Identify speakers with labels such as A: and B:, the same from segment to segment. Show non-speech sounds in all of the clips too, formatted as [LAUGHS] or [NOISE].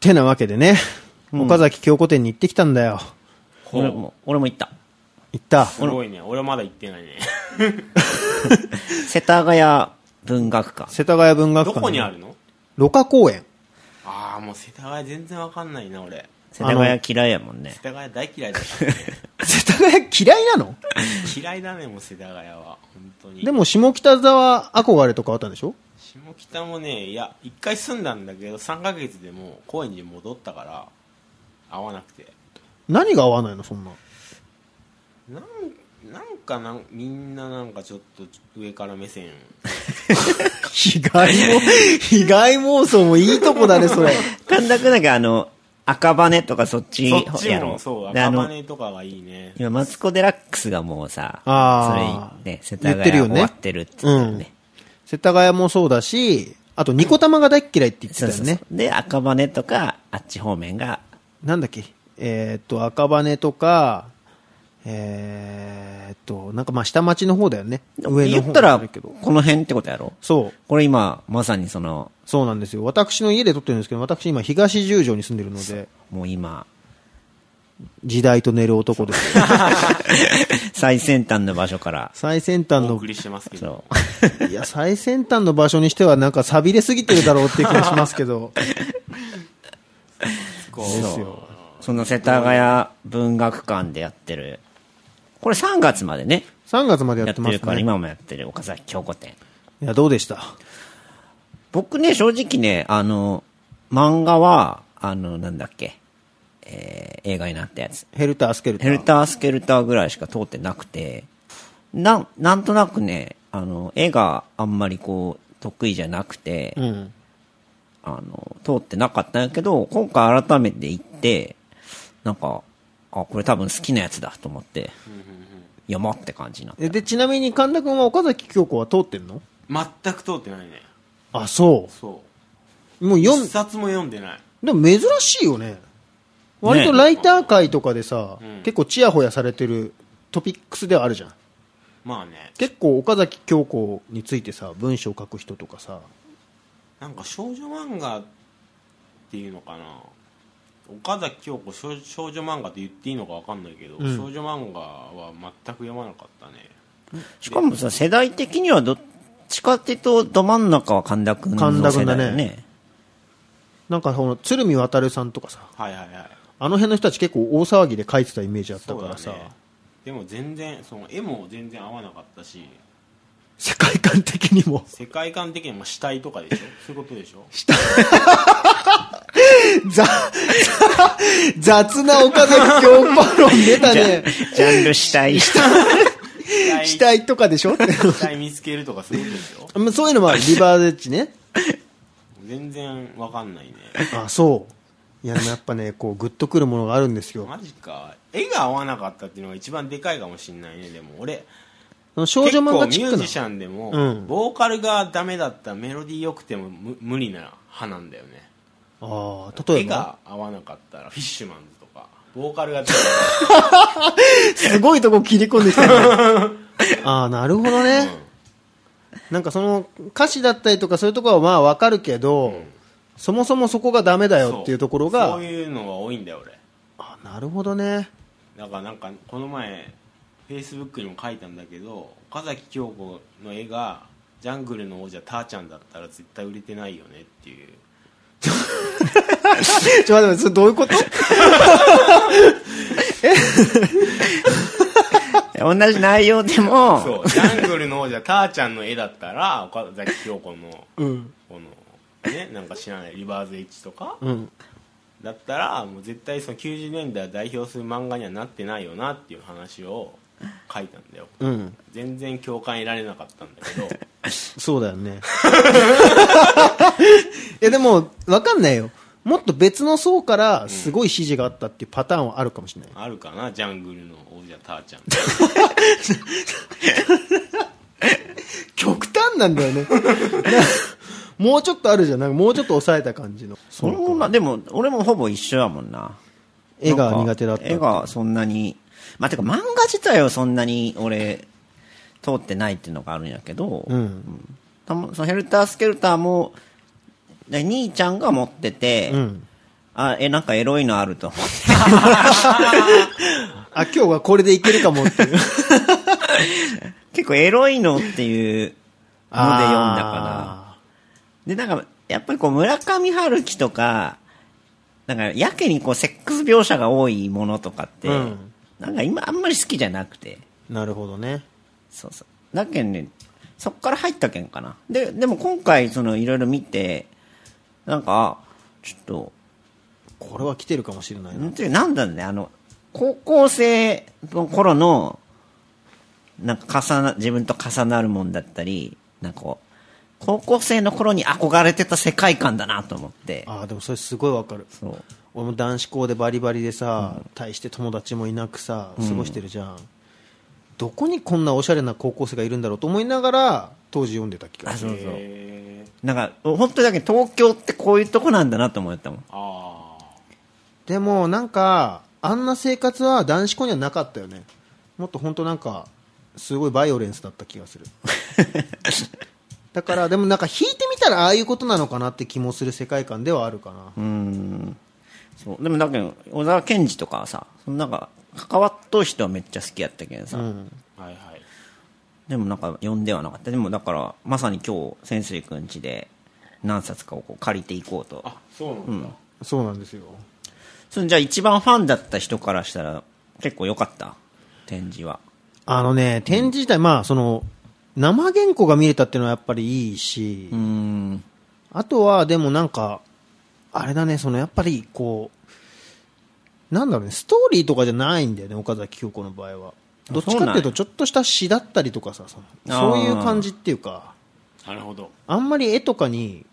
A: てなわけでね、岡崎京子店に行ってきたんだよ。
B: ほ
C: 俺
B: う
C: も俺も行った
A: 行った。
B: すごいね俺はまだ行ってな
C: [LAUGHS]
B: いね
C: 世田谷文学館
A: 世田谷文学
B: ど
A: 館。
B: こにあるの
A: ろ過公園。
B: ああもう世田谷全然わかんないな俺
C: 世田谷嫌いやもんね
B: 世田谷大嫌い
C: [LAUGHS]
B: だ
A: 世田谷嫌いなの
B: 嫌いだねもう世田谷は本当に
A: でも下北沢憧れとかあったんでしょ
B: 下北もねいや一回住んだんだけど3ヶ月でもう高円寺に戻ったから会わなくて
A: 何が合わないのそんな。
B: なんなんかなんみんななんかちょっと上から目線
A: 被害妄、被害妄想もいいとこだね、それ。
C: 神田君なんかあの赤羽とかそっち
B: そっち
C: や
B: も
C: ろ
B: そう
C: であ
B: 赤
C: の
B: 羽とかがいいね
C: 今マツコ・デラックスがもうさ
A: あー
C: それね世
A: 言
C: 田
A: ってる
C: 谷
A: よね
C: 終わってるって言ってたよね
A: 世田谷もそうだし、あと、ニコ玉が大っ嫌いって言ってた
C: そう
A: よ
C: そうそう
A: ね。
C: で赤羽とかあっち方面が
A: なんだっけえーっと、赤羽とか、えーっと、なんかまあ下町の方だよね。上の
C: 言
A: 方
C: ったら
A: だけど
C: この辺ってことやろ
A: そう。
C: これ今まさにその
A: そうなんですよ。私の家で撮ってるんですけど、私今東十条に住んでるので、
C: もう [LAUGHS] 今
A: 時代と寝る男
C: [LAUGHS]
A: ですよ。
C: 最先端の場所から
A: 最先端
B: お
A: の
B: 送、りしてますけど
C: そう
A: いや、最先端の場所にしてはなんか錆びれすぎてるだろうっていう気がしますけど。
B: こ
A: ですよ。
C: その世田谷文学館でやってるこれ3月までね
A: 3月までや
C: や
A: っ
C: ってて
A: ま
C: る
A: す
C: から
A: ね。
C: 今もやってる岡崎京子店
A: いや、どうでした
C: 僕ね正直ねあの漫画はあのなんだっけ、えー映画になったやつ
A: ヘルタースケルター。
C: ヘルタースケルターぐらいしか通ってなくてなんなんとなくねあの絵があんまりこう得意じゃなくて、
A: うん。
C: あの、通ってなかったんやけど、今回改めて行って、なんか、あ、これ多分好きなやつだと思って、読もうって感じになって。
A: えで、ちなみに神田君は岡崎京子は通ってんの
B: 全く通ってないね
A: あ、そ。
B: そう
A: もう
B: う一
A: 読ん、
B: 冊も読んでない
A: でも珍しいよね。割とライター界とかでさ、
B: うん
A: 結構チヤホヤされてるトピックスではあるじゃん。
B: まあね
A: 結構岡崎京子についてさ、文章を書く人とかさ、
B: なんか少女漫画っていうのかな岡崎京子少少女漫画って言っていいのか分かんないけど、
A: ん
B: 少女漫画は全く読まなかったね
C: しかもさ、世代的にはどっちかっていうと、ど真ん中は神田くん
A: 神
C: の
A: 田
C: 世
A: 君だ
C: 代
A: ね
C: だね。
A: なんかこの鶴見渡さんとかさ、
B: はいはいはい
A: あの辺の人たち結構大騒ぎで書いてたイメージあった
B: そう
A: か
B: だ
A: らさ、
B: ねでも全然その絵も全然合わなかったし
A: 世界観的にも
B: 世界観的にも死体とかでしょ [LAUGHS] そういうことでしょ
A: [LAUGHS] ざ、雑な岡崎京子論出たね。
C: ジャンル主
A: [LAUGHS]
C: 体。
B: 死体
A: 死体とかでしょって
B: 死体見つけるとかそういうことでしょ
A: [LAUGHS] まあそういうのはリバーデッジね。
B: 全然分かんないね
A: あ、そう。いや、でもやっぱね、こう、グッとくるものがあるん [LAUGHS] ですよ。
B: マジか絵が合わなかったっていうのが一番でかいかもしんないねでも俺
A: その少女漫画チック
B: 結構ミュー
A: な
B: ジ。シャンでも、
A: うん
B: ボーカルがダメだったメロディー良くても無無理な派なんだよね
A: ああ、例
B: 絵
A: えば。
B: が合わなかったらフィッシュマンズとかボーカルがダメだ
A: すごいとこ切り込んできたね。 [LAUGHS] ああ、なるほどね。なんかその歌詞だったりとかそういうところはまあわかるけど、そもそもそこがダメだ
B: った
A: よっていうところが、
B: そうそういうのが多いんだよ俺
A: あなるほどね。
B: だからなんかこの前フェイスブックにも書いたんだけど岡崎京子の絵がジャングルの王者ターちゃんだったら絶対売れてないよねっていう
A: ちょ、待って待って、それどういうこと
C: 同じ内容でも
B: そ、うジャングルの王者ターちゃんの絵だったら岡崎京子の
A: うん。
B: このねなんか知らないリバーズエッジとか
A: うん。
B: だったらもう絶対その90年代を代表する漫画にはなってないよなっていう話を書いたんだよ
A: うん。
B: 全然共感得られなかったんだけ
A: [LAUGHS]
B: ど
A: そうだよね。 [LAUGHS] いや、でも、わかんないよ。もっと別の層からすごい指示があったっていうパターンはあるかもしれない。
B: あるかなジャングルの王者ターちゃん
A: 極端なんだよね。な [LAUGHS] もうちょっとあるじゃん。なんかもうちょっと抑えた感じの。
C: それもな、でも、俺もほぼ一緒やもんな。
A: 絵が
C: なんか
A: 苦手だったって
C: 絵がそんなにまあてか漫画自体はそんなに俺通ってないっていうのがあるんやけど、
A: うん
C: たまそのヘルタースケルターもで兄ちゃんが持ってて、
A: うん。
C: あ、え、なんかエロいのあると思 [LAUGHS] って。
A: あ、今日はこれでいけるかもっていう。
C: 結構エロいのっていうので読んだから。
A: あ
C: で、なんか、やっぱりこう村上春樹とか、なんかやけにこうセックス描写が多いものとかって、
A: うん
C: なんか今あんまり好きじゃなくて。
A: ーなるほどね。
C: そうそう。だけんね、そっから入ったけんかな。で、でも今回、その、いろいろ見て、なんか、あちょっと、
A: これは来てるかもしれないな。
C: なんていう、なんだろうね、あの、高校生の頃の、なんか重な、自分と重なるもんだったり、なんかこう、高校生の頃に憧れてた世界観だなと思って、
A: ああ、でもそれすごいわかる。
C: そう。
A: 俺も男子校でバリバリでさ、大して友達もいなくさ過ごしてるじゃん、どこにこんなおしゃれな高校生がいるんだろうと思いながら当時読んでた気が
C: あ、
A: す
C: そ
A: る
C: うそう。
B: えー、
C: なんか、本当にだけど東京ってこういうとこなんだなと思ったもん。
B: ああ
A: でもなんかあんな生活は男子校にはなかったよねもっと本当なんかすごいバイオレンスだった気が
C: [LAUGHS]
A: するだからでもなんか引いてみたらああいうことなのかなって気もする世界観ではあるかな、
C: うんそうでもだけど小沢健二とかはさそのなんか関わっとう人はめっちゃ好きやったけどさ、
A: うん、
B: はいはい
C: でもなんか読んではなかったでもだからまさに今日潜水くん家で何冊かをこう借りていこうと
B: あそうなんだ、
A: そうなんですよ
C: それじゃあ一番ファンだった人からしたら結構良かった展示は
A: あのね、展示自体、まあ、その、生原稿が見れたっていうのはやっぱりいいし、
C: うん
A: あとは、でもなんか、あれだね、そのやっぱり、こう、なんだろうね、ストーリーとかじゃないんだよね、岡崎京子の場合は。
C: あ
A: どっちかっていうと、ちょっとした詩だったりとかさ、その
C: あ
A: そう
C: ー
A: いう感じっていうか、
B: なるほど
A: あんまり絵とかに、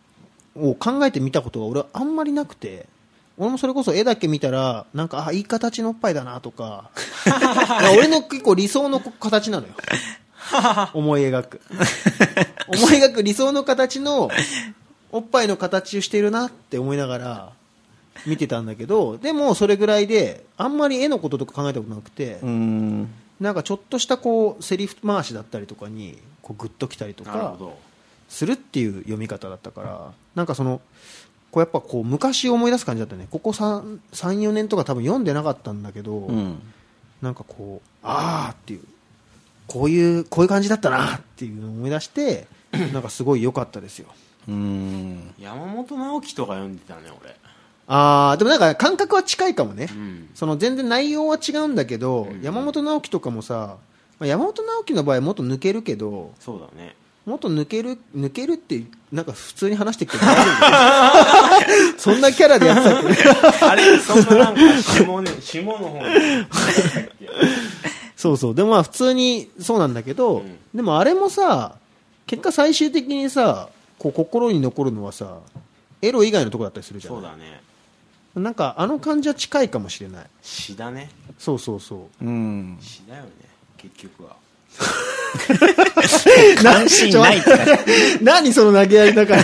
A: を考えてみたことが俺はあんまりなくて、俺もそれこそ絵だけ見たら、なんか、あ、いい形のおっぱいだなとか、いや俺の結構理想の形なのよ。思い描く。思い描く理想の形の、おっぱいの形をしてるなって思いながら、見てたんだけど、でもそれぐらいで、あんまり絵のこととか考えたことなくて、
C: うん
A: なんかちょっとしたこう、セリフ回しだったりとかに、こう、グッときたりとか、
B: なるほど
A: するっていう読み方だったからなんかそのこうやっぱこう昔を思い出す感じだったねここ34年とか多分読んでなかったんだけど、
C: うん
A: なんかこうああっていうこういうこういう感じだったなっていうのを思い出してなんかすごい良かったですよ
C: うん
B: 山本直樹とか読んでたね俺
A: ああでもなんか感覚は近いかもね、
B: うん
A: その全然内容は違うんだけど、山本直樹とかもさまあ山本直樹の場合もっと抜けるけど
B: そうだね
A: もっと抜ける、抜けるって、なんか普通に話してくるけど大丈夫 [LAUGHS] そんなキャラでやってたっけ [LAUGHS]
B: あれそんななんか下,、ね、下の方に
A: そうそう。でもまあ普通にそうなんだけど、
B: うん
A: でもあれもさ、結果最終的にさ、こう心に残るのはさ、エロ以外のとこだったりするじゃん。
B: [LAUGHS] そうだね
A: なんかあの感じは近いかもしれない。
B: 詩だね
A: そうそうそう。
C: うん
B: 詩だよね結局は
C: 関心ないって感じ
A: [LAUGHS] 何その投げやりだから、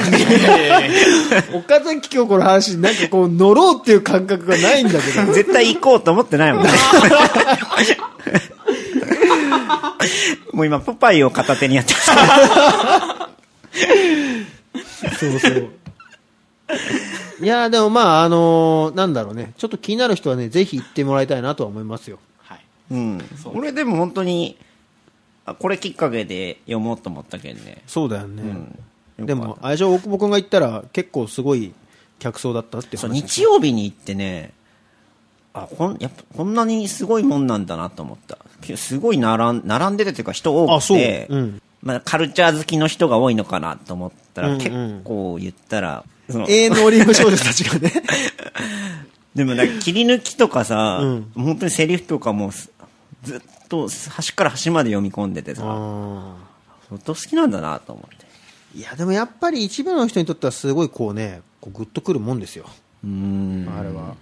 A: [LAUGHS] 岡崎京子の話になんかこう乗ろうっていう感覚がないんだけど。
C: 絶対行こうと思ってないもんね。もう今、ポパイを片手にやってます。
A: そうそう。いやーでもまあ、あのーなんだろうね。ちょっと気になる人はね、ぜひ行ってもらいたいなとは思いますよ。
B: はい
C: うん。俺でも本当に、あこれきっかけで読もうと思ったけんね。
A: そうだよね。
C: うん
A: で
C: よか
A: も、あれじゃ大久保くんが行ったら、結構すごい客層だったって
C: そう、
A: 話。
C: 日曜日に行ってね、あ、こん、やっぱこんなにすごいもんなんだなと思った。すごい並ん、並んでてというか人多
A: あ、
C: く
A: そう。
C: て、
A: うん。
C: まあ、カルチャー好きの人が多いのかなと思ったら、
A: うんうん
C: 結構言ったら、その
A: 永遠のオリーブ少女たちがね。 [LAUGHS]
C: でもなんか切り抜きとかさ、
A: うん
C: 本当にセリフとかもすずっと端から端まで読み込んでてさ、
A: あ
C: 本当好きなんだなと思って。
A: ーいや、でもやっぱり一部の人にとってはすごいこうね、こうグッとくるもんですよ。
C: うーん。
A: あれは。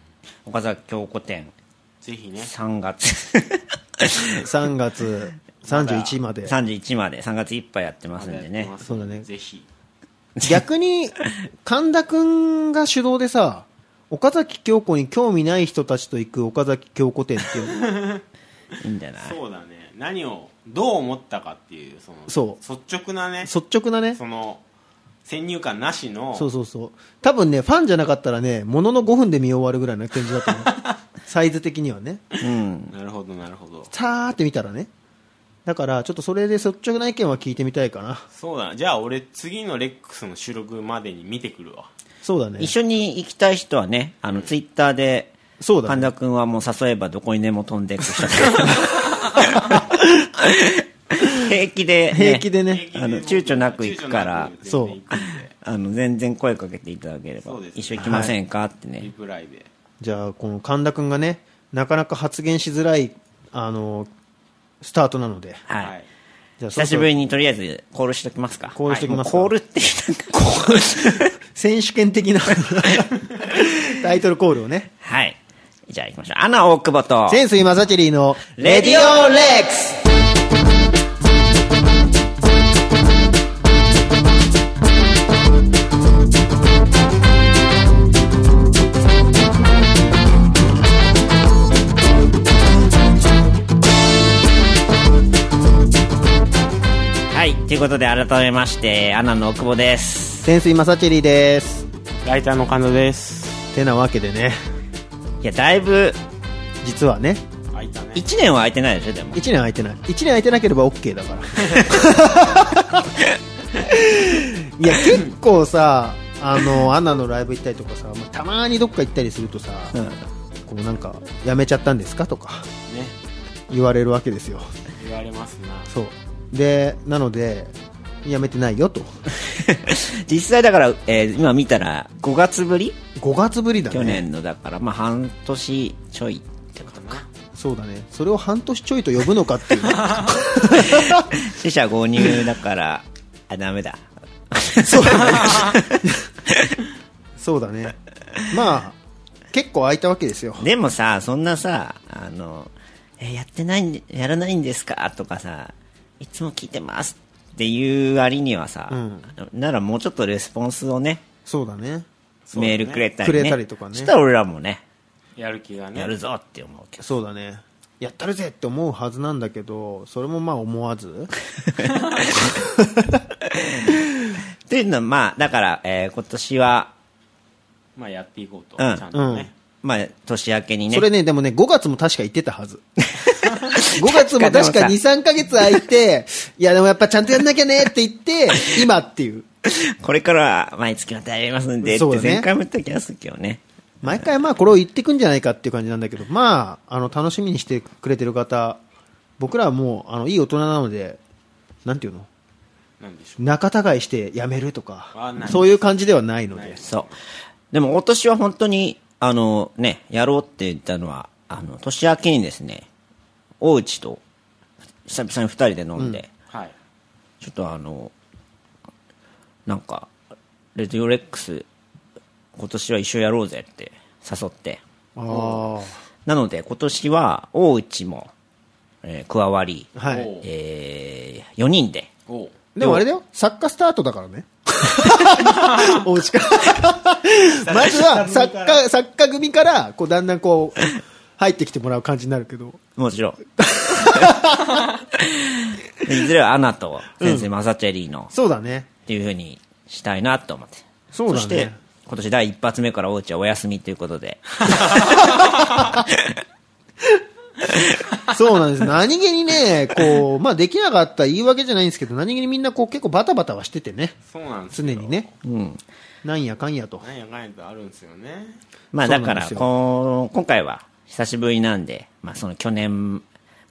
C: 岡崎京子店、
B: ぜひね
C: 3月
A: 3月31ま
C: [LAUGHS]
A: で。
C: 31まで、3月いっぱいやってますんで
B: やって
C: ね
B: ま。す
A: そうだね
B: ぜひ
A: 逆に、神田くんが主導でさ、岡崎京子に興味ない人たちと行く岡崎京子店っていう、
C: いいんじゃない
B: そうだね何をどう思ったかっていうその
A: そう
B: 率直なね
A: 率直なね、
B: その先入観なしの
A: そうそうそう。多分ね、ファンじゃなかったらね、ものの5分で見終わるぐらいの感じだと思う。
C: [LAUGHS]
A: サイズ的にはね。
C: うん。
B: なるほどなるほど
A: さーって見たらね。だから、ちょっとそれで率直な意見は聞いてみたいかな。
B: そうだじゃあ俺次のレックスの収録までに見てくるわ
A: そうだね
C: 一。緒に行きたい人はね、あの、ツイッターで、
A: そうだ
C: 神
A: ね。
C: 田君はもう誘えばどこにでも飛んでいく人
A: [LAUGHS]
C: 平気で、ね、
A: 平気でね。
C: あの躊躇なく行くから
B: 躊躇なく全然行
C: あの
B: くんで
C: 全然声かけていただければ、
B: そうですね
C: 一緒行きませんかってね、
B: リプライで
A: じゃあ、この神田くんがね、なかなか発言しづらい、あの、スタートなので。
C: はい
B: はい
A: じゃあ、
C: 久しぶり
A: に。
C: にとりあえずコールしときますか
A: コールしときますか
C: はいもうコールってなんか
A: 選手権的なタイトルコールをね。
C: [LAUGHS] はいじゃあ行きましょうアナ大久保と
A: 潜水マサチェリーの、
C: レディオレックスはいということで改めましてアナの奥保です
A: 潜水マサチェリーです。
B: ライターの神田です
A: てなわけでね、
C: いやだいぶ
A: 実はね、
B: 開いたね
C: 1年は空いてないでしょでも
A: 1年空いてない1年空いてなければ OK だから [LAUGHS] いや結構さあのアナのライブ行ったりとかさ、まあたまにどっか行ったりするとさ、こうなんかやめちゃったんですかとか
B: ね
A: 言われるわけですよ
B: 言われますな
A: そうでなのでやめてないよと
C: [LAUGHS] 実際だから、えー今見たら5月ぶり
A: 5月ぶりだね
C: 去年のだから、まあ半年ちょい [LAUGHS] ってことか
A: そうだねそれを半年ちょいと呼ぶのか [LAUGHS] っていうね
C: 死者購入だからあダメだ
A: そうだねそうだねまあ結構空いたわけですよ
C: でもさそんなさあの、えーやってないんでやらないんですかとかさいつも聞いてますっていう割にはさ、
A: うん
C: ならもうちょっとレスポンスをね
A: そうだね
B: そうだ
C: メ
B: ね
C: ールくれたり、ね、
A: くれたりとかね
C: したら俺らもね
B: やる気がね
C: やるぞって思うけど
A: そうだねやったるぜって思うはずなんだけどそれもまあ思わず
C: っていうのはまあだから、えー今年は
B: まあやっていこうと、
C: うん
B: ちゃんとね、
C: まあ年明けにね
A: それねでもね5月も確か言ってたはず5月も確か
C: でもさ
A: 23ヶ月空いていやでもやっぱちゃんとやんなきゃねって言って今っていう
C: [LAUGHS] これからは毎月またやりますんでって
A: そうだね
C: 前回も言った気がするけどね。
A: 毎回まあこれを言ってくんじゃないかっていう感じなんだけどまああの楽しみにしてくれてる方僕らはもうあのいい大人なのでなんていうの
B: なんでしょ
A: 仲違いしてやめると
B: あ
A: か
B: ない
A: そういう感じではないので
C: そう。でも今年は本当に、あのね、やろうって言ったのは、あの、年明けにですね、大内と久々に二人で飲んで、
B: うはい
C: ちょっとあの、なんか、レディオレックス、今年は一緒やろうぜって誘って。
A: あ
C: なので今年は大内も、えー加わり、
A: あは
B: お
A: いう
C: えー、4人で、
B: おう
A: でもあれだよ、作家スタートだ [LAUGHS] からね。おうちから。まずは作家、作家組から、こう、だんだんこう、入ってきてもらう感じになるけど。
C: もちろん。いずれはアナと先生マサチェリーの
A: そうだね。
C: っていうふうにしたいなと思って。
A: そうだね
C: そして、今年第一発目からおうちはお休みということで。
A: そうなんです。何気にね、こう、まあ、できなかった言い訳じゃないんですけど、何気にみんなこう、結構バタバタはしててね。
B: そうなんです
A: 常
B: よ
A: にね。
C: うん。
A: なんやかんやと。
B: なんやかんやとあるんですよね
C: まあ
A: そう
C: だ
A: な
C: か
A: んで
C: ら、
A: すよ
C: この今回は久しぶりなんで、まあその去年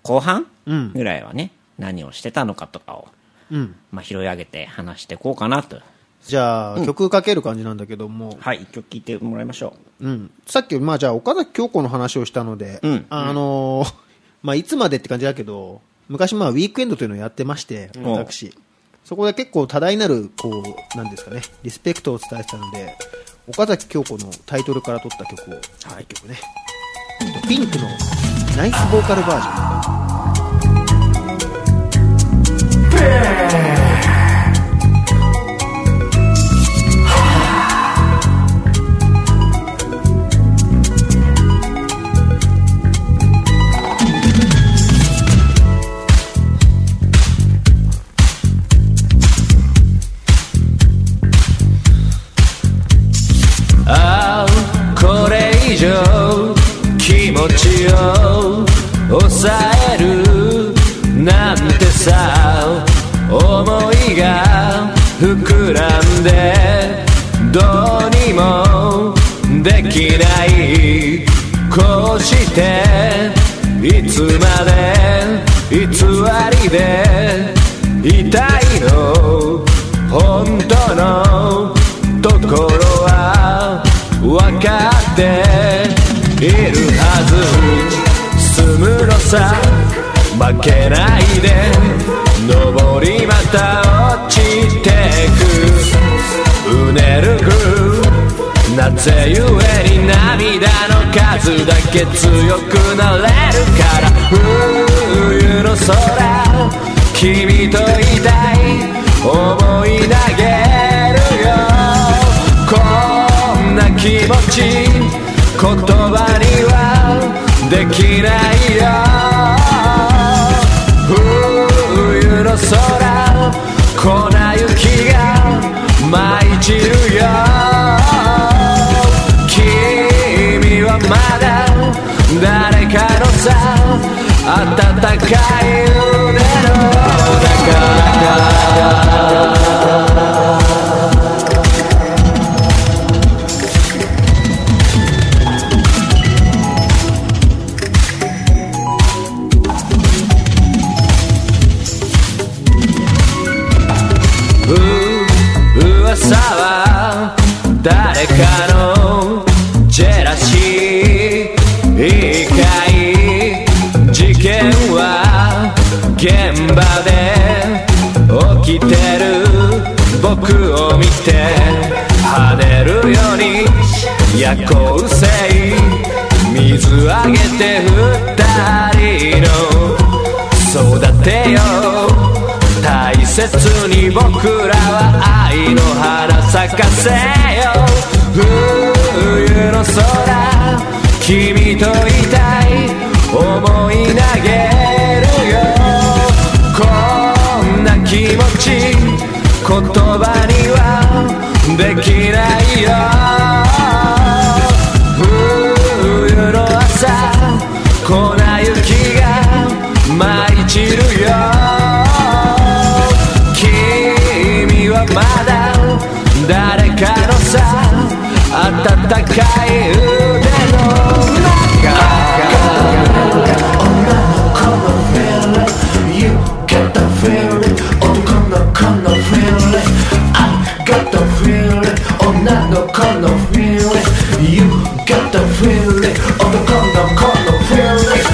C: 後半
A: うん
C: ぐらいはね、何をしてたのかとかを、
A: うん。
C: まあ拾い上げて話していこうかなと。
A: じゃあ、曲かける感じなんだけども、
C: はい、一曲聞いてもらいましょ
A: うん、さっき、まあ、じゃあ岡崎京子の話をしたので、
C: うん
A: あのーまあ、いつまでって感じだけど昔、まあ、ウィークエンドというのをやってまして、
C: ん
A: 私そこで結構多大なるこうなんですかねリスペクトをお伝えしたので岡崎京子のタイトルから取った曲を、はい、曲ねピンクのナイスボーカルバージョン
D: 「しょう気持ちを抑えるなんてさ思いが膨らんでどうにもできないこうしていつまで偽りでいたいの本当のところは分かっているはず住むのさ負けないで登りまた落ちてくうねるくなぜゆえに涙の数だけ強くなれるから冬の空君といたい思い投げるよこんな気持ち言葉にはできないよ冬の空粉雪が舞い散るよ君はまだ誰かのさ温かい腕の中う噂は誰かのジェラシーいいかい事件は現場で起きてる僕を見て跳ねるように夜行性水あげて二人の育てよう大切に僕らは愛の花咲かせよ冬の空君といたい思い投げるよこんな気持ち言葉にはできないよ冬の朝粉雪が舞い散るよ君はまだ誰かのさ温かい腕の中
E: Get the feeling, oh come no come no feeling. I got the feeling, oh not no come no feeling. You got the feeling, oh no come no come no feeling.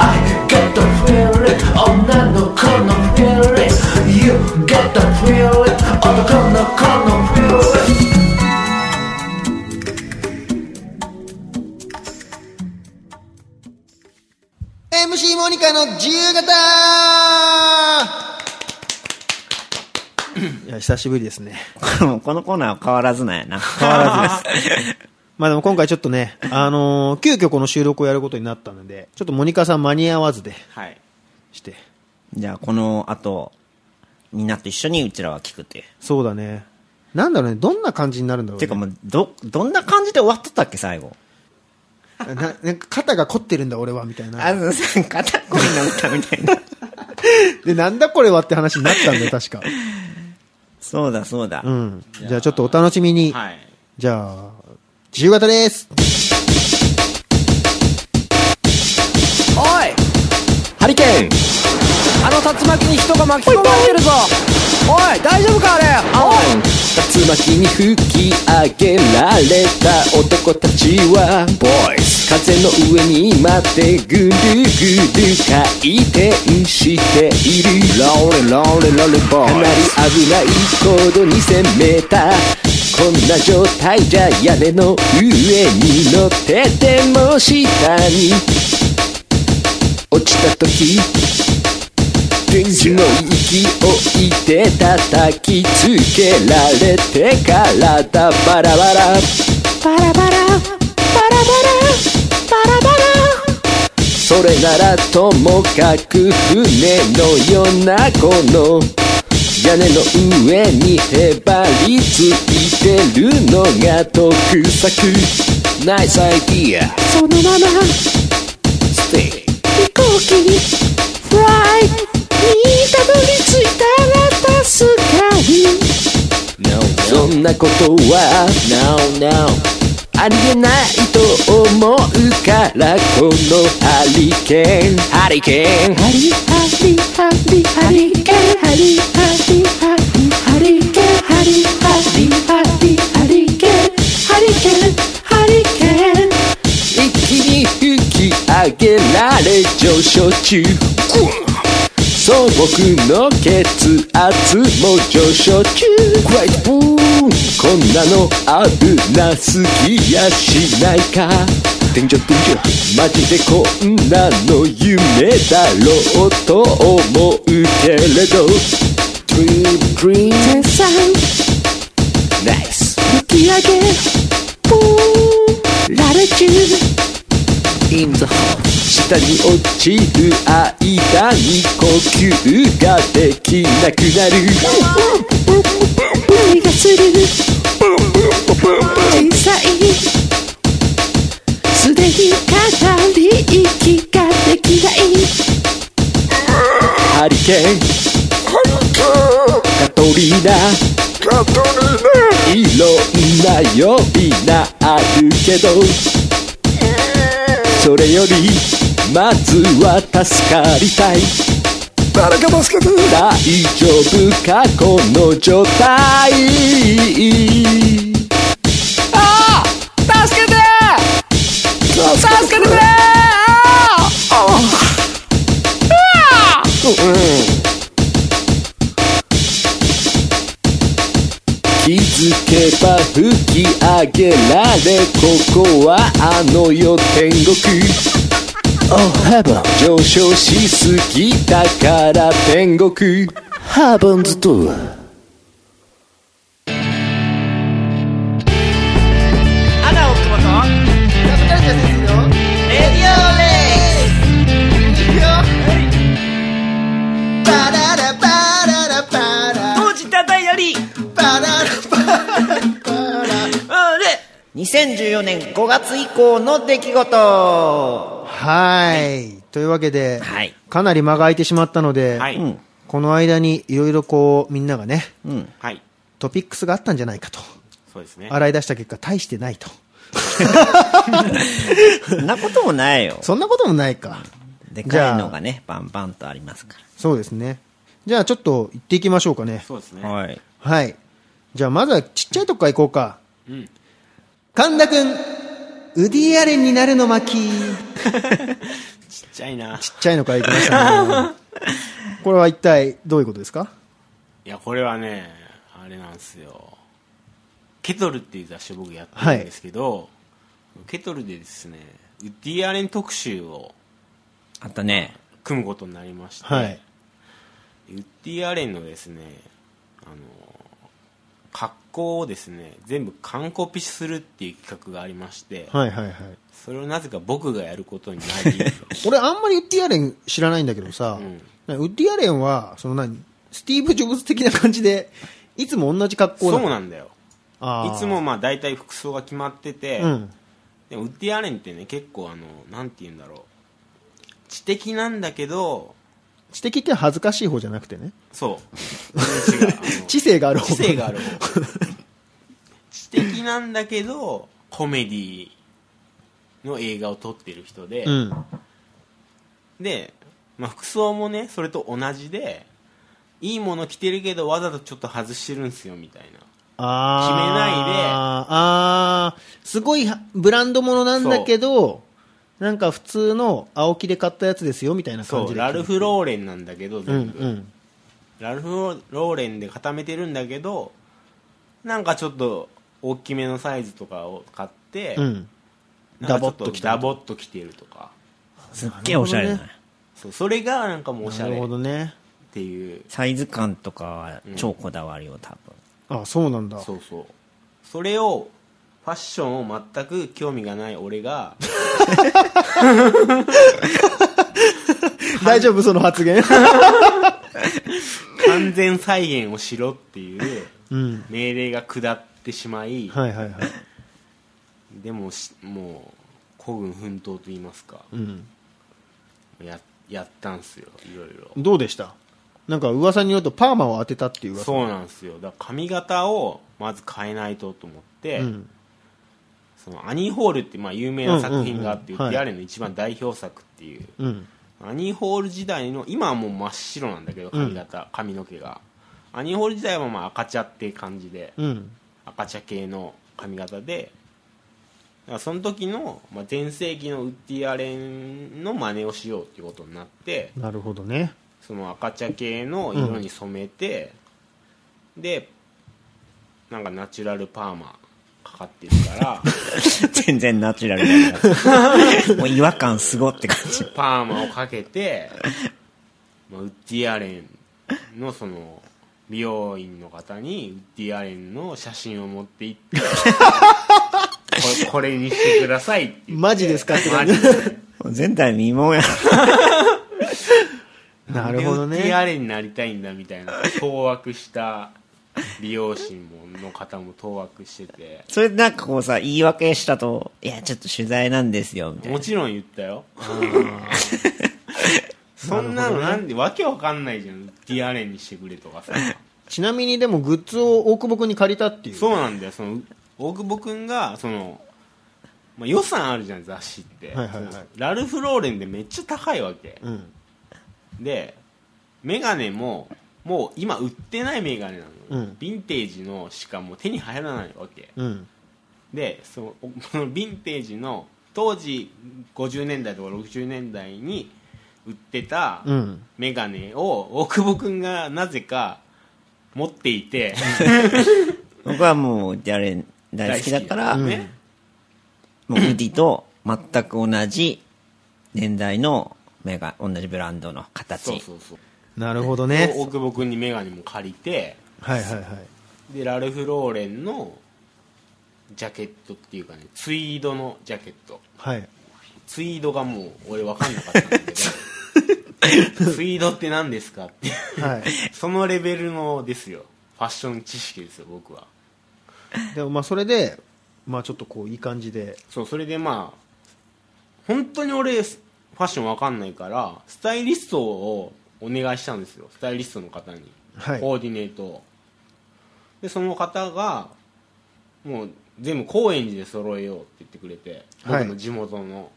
E: I got the feeling, oh not no come no feeling. You got the feeling, oh no come no come no feeling.
A: モニカの自由形いや久しぶりですね
C: [LAUGHS] このコーナーは変わらずなんやな。
A: 変わらずです。まあでも今回ちょっとね、あのー急遽この収録をやることになったので、ちょっとモニカさん間に合わずで
B: はい
A: して。
C: じゃあ、この後、みんなと一緒にうちらは聞くっていう。
A: そうだね。なんだろうね、どんな感じになるんだろう
C: て
A: ね。
C: かもう、ど、どんな感じで終わっとったっけ、最後。
A: [LAUGHS] ななんか肩が凝ってるんだ俺は、みたい
C: あ
A: な。
C: ずさん、 [LAUGHS] 肩こりの歌みたいな。
A: で、なんだこれはって話になったんだよ、確か。
C: [LAUGHS] そうだ、そうだ。
A: うん。じゃあちょっとお楽しみに。
B: はい
A: じゃあ、自由形です。
D: おいハリケーンあの竜巻に人が巻き込まれてるぞおい大丈夫かあれおい竜巻に吹き上げられた男たちはボイス風の上に待ってぐるぐる回転しているローレローレローレボイかなり危ない高度に攻めたこんな状態じゃ屋根の上に乗ってても下に落ちた時電気の勢いで叩きつけられて体バラバラ
F: バラバラバラバラバラバラ
D: それならともかく船のようなこの屋根の上にへばりついてるのが特策ナイスアイディア
F: そのまま
D: ステイ
F: 飛行機にフライにたどり着いたあなたスカイ
D: そんなことは No No ありえないと思うからこのハリケーンハリケーン
F: ハリハリハリハリケンハリハリハリハリケンハリハリハリハリケンハリケンハリケン
D: 一気に引き上げられ上昇中素朴の血圧も上昇中グレイトブーンこんなの危なすぎやしないか天井天井マジでこんなの夢だろうと思うけれど Dream Dream
F: 全産
D: Nice
F: 吹き上げポーンラレチュー
D: In the hole 下に落ちる間に呼吸ができなくなる
F: 何がする天才すでに語り息ができない
D: ハリケーンカトリーナいろんな呼び名あるけどそれよりまずは助かりたい誰か助けて大丈夫かこの状態ああ助けて助けてくれ気づけば吹き上げられここはあの世天国 Oh heaven 上昇しすぎたから天国
E: ハーバンズとは
C: 2014年5月以降の出来事
A: はい。というわけで、
C: はい
A: かなり間が空いてしまったので、
B: はい、
C: ん
A: この間にいろいろこう、みんながね、
C: うん。
B: はい、
A: トピックスがあったんじゃないかと。
B: そうですね
A: 洗い出した結果、大してないと。
C: [LAUGHS] そんなこともないよ。
A: そんなこともないか。
C: で
A: じゃ
C: か
A: あ
C: いのがね、バンバンとありますか
A: そうですね。じゃあちょっと行っていきましょうかね。
B: そうですね
C: ら。はい。
A: はい。じゃあまずはちっちゃいとこから行こうか。
B: うん
A: 神田くん、ウディアレンになるの巻。ち
B: ちっちゃいな
A: っちゃいのから行きましたね。
B: [LAUGHS]
A: これは一体どういうことですか
B: いやこれはねあれなんですよケトルっていう雑誌を僕やってるんですけど、ケトルでですねウッディ・アレン特集を
C: あとね、
B: 組むことになりまして、
A: はい。
B: ウッディ・アレンのですねあの格好をですね全部完コピするっていう企画がありまして、
A: はいはいはい。
B: それをなぜか僕がやることになり
A: [LAUGHS] 俺あんまりウッディアレン知らないんだけどさ、ウッディアレンは、その何、スティーブ・ジョブズ的な感じで、いつも同じ格好
B: そう
A: の
B: なんだよ
A: あー
B: いつもまあ大体服装が決まってて、
A: うん。
B: でもウッディ・アレンってね結構あのなんて言うんだろう知的なんだけど
A: 知的って恥ずかしい方じゃなくてね。
B: そう違うあ
A: [LAUGHS]
B: の
A: 知性がある方。
B: 知性がある方知的なんだけどコメディの映画を撮ってる人で、
A: うん。
B: で、まあ、服装もねそれと同じでいいもの着てるけどわざとちょっと外してるんすよみたいな
A: あー
B: 決めないで
A: あーすごいはブランドものなんだけど、なんか普通の青木で買ったやつですよみたいな感
B: そ
A: じ
B: う
A: で。
B: ラルフ・ローレンなんだけど
A: うんう
B: 全部、
A: ん。
B: ラルフ・ローレンで固めてるんだけどなんかちょっと大きめのサイズとかを買って、
A: うん。
B: な
A: ダ
B: んかち
A: ボ
B: ょ
A: っ
B: っ
A: と
B: と
A: 着た
B: ダボっと着てるとか
C: すっげえおしゃれだ
A: なる
C: ね。
B: そうそれがなんかもうおしゃ
A: な
B: れ
A: るほ
B: っ
A: どね。
B: ていう
C: サイズ感とかは超こだわりを多分。 [LAUGHS]
A: あ、そうなんだ。 [LAUGHS]
B: そうそうそれをファッションを全く興味がない俺が
A: 大丈夫その発言
B: 完全再現をしろっていう
A: うん。
B: 命令が下ってしまい、
A: はいはいはい。
B: でもしもう孤軍奮闘と言いますか、
A: うん、
B: ややったんすよいろいろ
A: どうでしたなんか噂によるとパーマを当てたっていう噂
B: そうなんですよだから髪型をまず変えないとと思って、
A: うん
B: そのアニー・ホールってまあ有名な作品があって、
A: うんうんうんはい
B: ディアレンの一番代表作っていう、
A: うん
B: アニー・ホール時代の今はもう真っ白なんだけど髪型、髪の毛がアニー・ホール時代はまあ赤茶って感じで、
A: うん
B: 赤茶系の髪型でだからその時のまあ全盛期のウッディ・アレンの真似をしようっていうことになって
A: なるほどね
B: その赤茶系の色に染めて、でなんかナチュラルパーマかかってるから
C: 全然ナチュラルじゃ [LAUGHS] ない。もう違和感すごって感じ。
B: パーマをかけて、まあ、ウッディ・アレンのその美容院の方にウッディ・アレンの写真を持って
A: [LAUGHS]
B: 行ってこれこれにしてくださいって言って
A: マジですかって
B: マジで
C: もう前代未聞や。
A: なるほど
B: でウッディア
A: ね
B: レンになりたいんだみたいな当惑した美容師もの方も当惑してて
C: それでなんかこうさ、言い訳したと、いや、ちょっと取材なんですよ、みたいな。
B: もちろん言ったよ [LAUGHS] そんなのなんでわけわかんないじゃんウッディアレンにしてくれとかさ
A: ちなみにでもグッズを大久保君に借りたっていう
B: そうなんだよその大久保君がその、まあ、予算あるじゃん雑誌って、
A: はいはいはい
B: そのラルフ・ローレンでめっちゃ高いわけ、
A: うん
B: でメガネももう今売ってないメガネなの、
A: うん
B: ヴィンテージのしかもう手に入らないわけ、
A: うん
B: でそのおそのヴィンテージの当時50年代とか60年代に売ってた
A: うん
B: メガネを大久保君がなぜか持っていて
C: 僕はもう、ディアレン大好きだから、
B: [LAUGHS] 大好き
C: も
B: だ
C: う
B: ね
C: ウッディと全く同じ年代のメガ、同じブランドの形。
B: そうそうそう
A: なるほど
B: 大
A: ね
B: 久保君にメガネも借りて
A: はいはいはい
B: でラルフ・ローレンのジャケットっていうかねツイードのジャケット
A: はい
B: ツイードがもう俺分かんなかったんだけ
A: [LAUGHS]
B: どツイードって何ですかって
A: は
B: そのレベルのですよファッション知識ですよ僕はい
A: でもまあそれでまあちょっとこういい感じで
B: そうそれでまあ本当に俺ファッションわかんないからスタイリストをお願いしたんですよスタイリストの方に、
A: はい
B: コーディネートをでその方がもう全部高円寺で揃えようって言ってくれて
A: はい
B: 僕の地元の、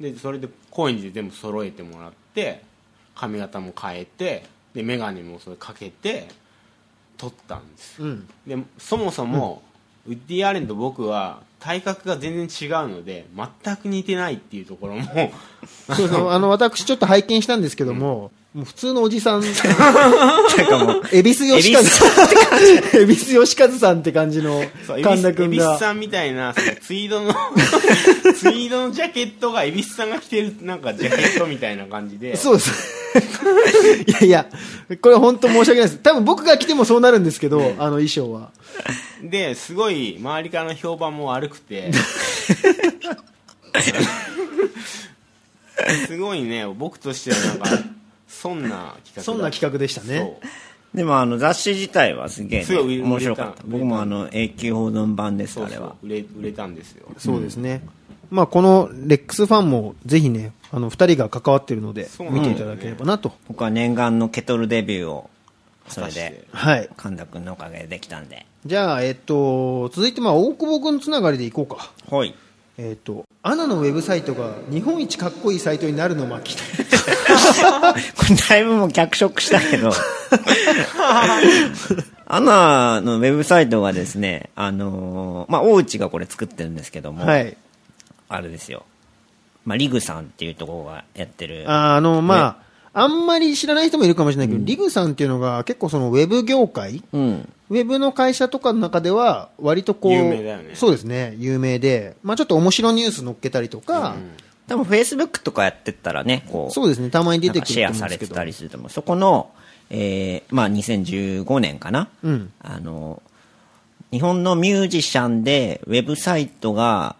B: でそれで高円寺で全部揃えてもらって髪型も変えてで眼鏡もそれかけて撮ったんですよ
A: うん
B: でそもそも、ウッディ・アレンと僕は体格が全然違うので全く似てないっていうところも
A: そうそうあの私ちょっと拝見したんですけども、もう普通のおじさん
C: なんかもう、
A: 恵比寿義和さんって感じ恵比寿義和さんって感じの
B: そう
A: 神田
B: 恵
A: 君
B: 比寿
A: が
B: さんみたいなそのツイードの [LAUGHS] ツイードのジャケットが恵比寿さんが着てるなんかジャケットみたいな感じで
A: そうです [LAUGHS] いやいやこれ本当申し訳ないです多分僕が来てもそうなるんですけど、あの衣装は
B: ですごい周りからの評判も悪
A: [LAUGHS]
B: くてすごいね僕としてはなんかそんな企画だ
A: そんな企画でしたね
B: そう
C: でもあの雑誌自体はすげえ、
B: すごい売れ
C: ね、面白かった。
B: 売れた
C: 僕もあの、永久保存版です、
B: そう
C: あれ
B: そう
C: は。
B: 売れ売れたんですよ
A: そうですね、まあこのレックスファンもぜひねあの2人が関わってるので
B: そうな
A: 見
B: んだよ
A: て
B: ね
A: いただければなと、
C: 僕は念願のケトルデビューを、それで、
A: はい
C: 神田くんのおかげでできたんで。
A: じゃあえっと続いてまあ大久保君つながりでいこうか
C: ほい。
A: えっとアナのウェブサイトが日本一かっこいいサイトになるの巻
C: これだいぶもう脚色したけ
A: [LAUGHS]
C: ど。アナのウェブサイトがですね、あのーまあ、大内がこれ作ってるんですけども、
A: はい
C: あれですよ。まあ、リグさんっていうところがやってる。
A: あーあの、まあ、あんまり知らない人もいるかもしれないけど、リグさんっていうのが結構そのウェブ業界、
C: うん。
A: ウェブの会社とかの中では割とこう、
B: 有名だよね
A: そうですね、有名で、まあちょっと面白ニュース載っけたりとか、
C: 多分 Facebook とかやってったらね、こう、
A: そうですね、たまに出
C: な
A: て
C: んか
A: く
C: シ
A: る
C: ェ
A: と思う
C: ア
A: ん
C: さ
A: で
C: れ
A: すけ
C: て
A: ど。
C: たりすると思う。そこの、えーまあ、2015年かな、
A: うん
C: あの、日本のミュージシャンで、ウェブサイトが、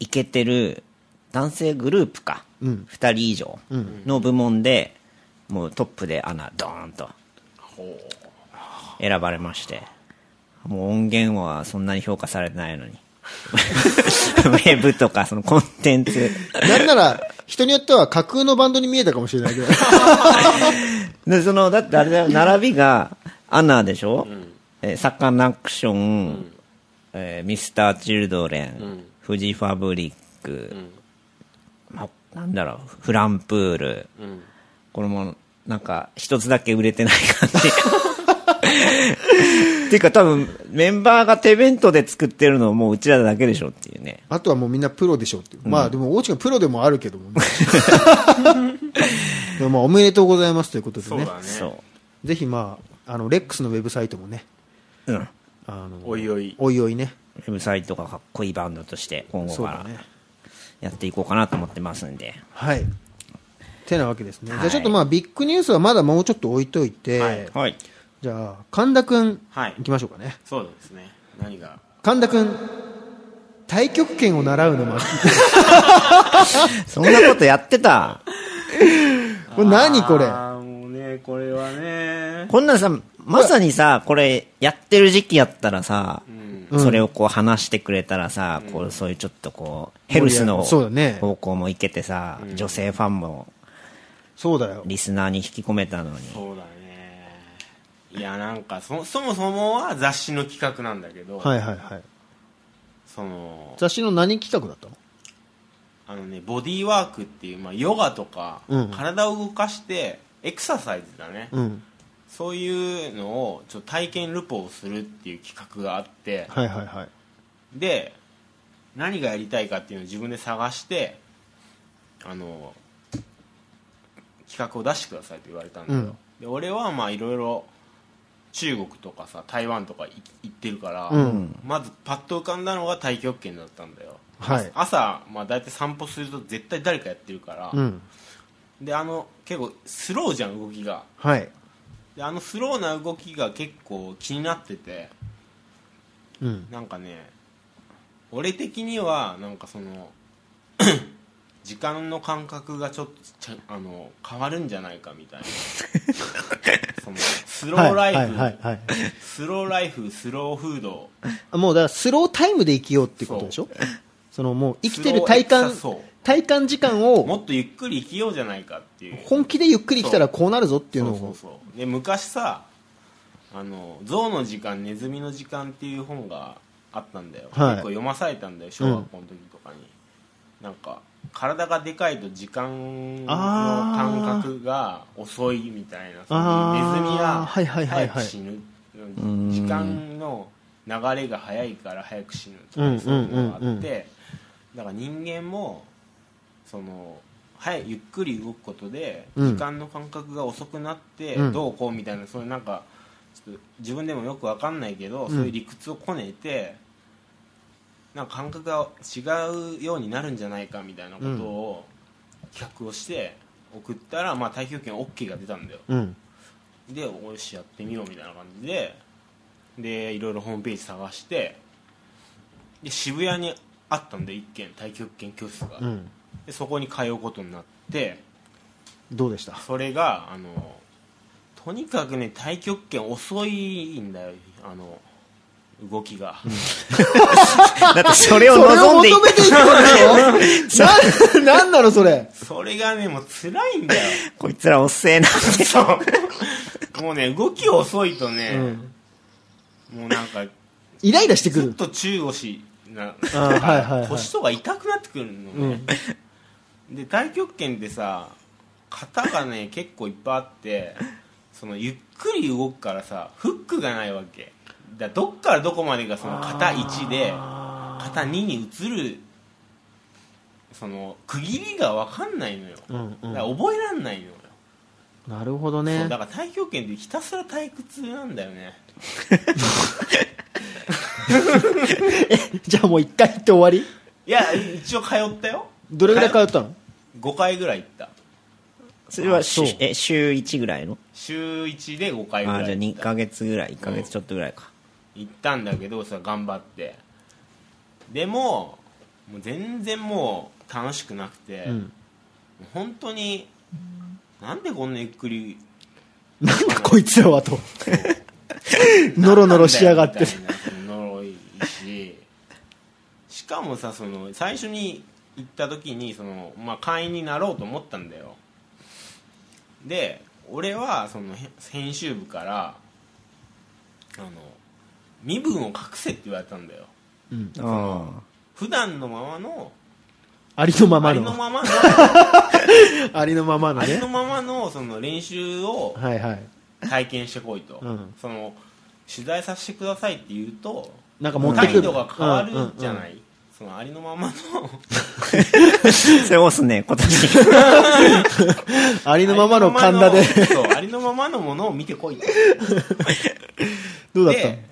C: いけてる男性グループか。二、
A: ん
C: 人以上の部門で、もうトップで穴、ドーンと、
A: [LAUGHS]
C: 選ばれまして。もう音源はそんなに評価されてないのに。 [LAUGHS] ウェブとか、そのコンテンツ。
A: なんなら、人によっては架空のバンドに見えたかもしれないけど。
C: で、その、だってあれだよ、並びが、アナでしょ、えーサカナクション、えーミスター・チルドレン、フジファブリック、ま、なんだろう、フランプール。これも、なんか、一つだけ売れてない感じ。 [LAUGHS] っていうか多分、メンバーが手弁当で作ってるのもううちらだけでしょっていうね。
A: あとはもうみんなプロでしょっていう。まあでも、大地君プロでもあるけども、ね。でもまあおめでとうございますということで
B: そう
A: ね。
B: だね
C: そ
A: ぜひまあ、あの、レックスのウェブサイトもね、
C: う。うん。
A: あの、
B: おいおい
A: おいおいね。
C: ウェブサイトがかっこいいバンドとして今後
A: そう
C: か
A: だ
C: ら
A: ね
C: やっていこうかなと思ってますんで。
A: はい。てなわけですね。じ
C: は
A: ゃあ
C: い
A: ちょっとまあ、ビッグニュースはまだもうちょっと置いといて、
B: はい
C: はい。
A: じゃあ、神田くん、
B: はい
A: 行きましょうかね。
B: そうですね何が
A: 神田くん、太極拳を習うの巻。
C: そんなことやってた。
A: これ何これ
B: ああもうねこれはね
C: こんなんさ、まさにさ、これやってる時期やったらさ、
A: うん
C: それをこう話してくれたらさ、こうそういうちょっとこう、ヘルスの
A: そうだね
C: 方向もいけてさ、女性ファンも
A: そうだよ。
C: リスナーに引き込め
A: [LAUGHS]
C: たのに。
B: そうだねいやなんかそそもそもは雑誌の企画なんだけど、
A: はいはいはい。
B: その
A: 雑誌の何企画だったの
B: あのねボディーワークっていう、まあ、ヨガとか、
A: うん
B: 体を動かしてエクササイズだね、
A: うん。
B: そういうのをちょっと体験ルポをするっていう企画があって、
A: はいはいはい。
B: で何がやりたいかっていうのを自分で探してあの企画を出してくださいと言われたんだけど、
A: うん
B: で俺はまあいろいろ中国とかさ台湾とかい行ってるから、
A: うん
B: まずパッと浮かんだのが太極拳だったんだよ、
A: はい
B: 朝、まあ、大体散歩すると絶対誰かやってるから、
A: うん。
B: であの結構スローじゃん動きが
A: はい。
B: であのスローな動きが結構気になってて
A: うん。
B: なんかね俺的にはなんかその [CLEARS THROAT] 時間の感覚がちょっとちゃあの変わるんじゃないかみた
A: [LAUGHS]
B: いなそのスローライフ、
A: はいはいはいはい
B: スローライフスローフード
A: あもうだからスロータイムで生きようってことでしょそのもう生きてる体感
B: スローエクサ
A: 体感時間
B: も
A: を
B: っとゆっくり生きようじゃないかっていう
A: 本気でゆっくり来たらこうなるぞっていうの
B: そうそう
A: を
B: そうで昔さあの「象の時間ネズミの時間」っていう本があったんだよ、
A: はい
B: 結構読まされたんだよ小学校の時とかに、なんか体がでかいと時間の
A: あー
B: 感覚が遅いみたいなそ
A: あ
B: の
A: ー
B: ネズミは
A: はいはいはいはい
B: 早く死ぬ時間の流れが早いから早く死ぬと
A: うん
B: かそういうのがあっ
A: う
B: て、
A: んうんうん
B: だから人間もそのはいゆっくり動くことで
A: うん
B: 時間の感覚が遅くなって
A: うん
B: どうこうみたいな、そういうなんかちょっと自分でもよくわかんないけど、
A: ん
B: そういう理屈をこねてなんか感覚が違うようになるんじゃないかみたいなことを企画をして送ったら、まあ、太極拳 OK が出たんだよ
A: うん
B: でおよしやってみようみたいな感じででいろいろホームページ探してで渋谷にあったんで一軒太極拳教室が、
A: うん
B: でそこに通うことになって
A: どうでした
B: それがあのとにかくね太極拳遅いんだよあの動きが、
C: だってそれを
A: それを
C: 望んでい
A: 求めていくわけよなん [LAUGHS] なんなのそれ
B: それがねもう辛いん
A: [LAUGHS]
B: だよ
C: こいつらおっせえなって。
B: もうね動き遅いと
A: う
B: ね、
A: ん
B: もうなんか
A: イライラしてく
B: ずっ
A: る
B: と中腰な
A: あーはいはいはい
B: 腰とか痛くなってくるのね、で太極拳ってさ型がね結構いっぱいあってそのゆっくり動くからさフックがないわけだからどっからどこまでがその型1で型2に移るその区切りが分かんないのよ、
A: うんうん
B: だから覚えらんないのよ、
A: なるほど
B: そ
A: ね
B: うだから太極拳ってひたすら退屈なんだよね
A: じゃあもう一回行って終わり
B: いや一応通ったよ
A: どれぐらい通った
B: [LAUGHS]
A: の
B: 5回ぐらい行った
C: それは
A: [LAUGHS] あそう
C: しえ週1ぐらいの
B: 週1で5回ぐらい
C: あじゃあ
B: 行っ
C: 2
B: た
C: ヶ月ぐらい、1ヶ月ちょっとぐらいか。
B: 行ったんだけどさ頑張ってでももう全然もう楽しくなくて、
A: うん
B: 本当になんでこんなゆっくり
A: なんだこいつらはと [LAUGHS] ノロノロしやがって
B: なんだよみたいなその呪いしかもさその最初に行った時にその、まあ、会員になろうと思ったんだよで俺はそのへ編集部からあの身分を隠せって言われたんだよ
C: あ
B: 普段のままの
A: ありのま
B: あ
A: ま
B: りの
A: の。[LAUGHS]
B: ままの
A: ありのままの
B: あり
A: ね
B: の。ままのその練習を
A: はいはい。
B: 体験してこいと、
A: うん
B: その取材させてくださいって言うと
A: なんか持ってくる。
B: 態度が変わるじゃない、そのありのままの
C: あ。 [LAUGHS] それ押すね、今
A: [LAUGHS]
C: 年。
A: うんうんありのままの神田で。
B: そうありのままのものを見てこいと
A: どうだったの
B: で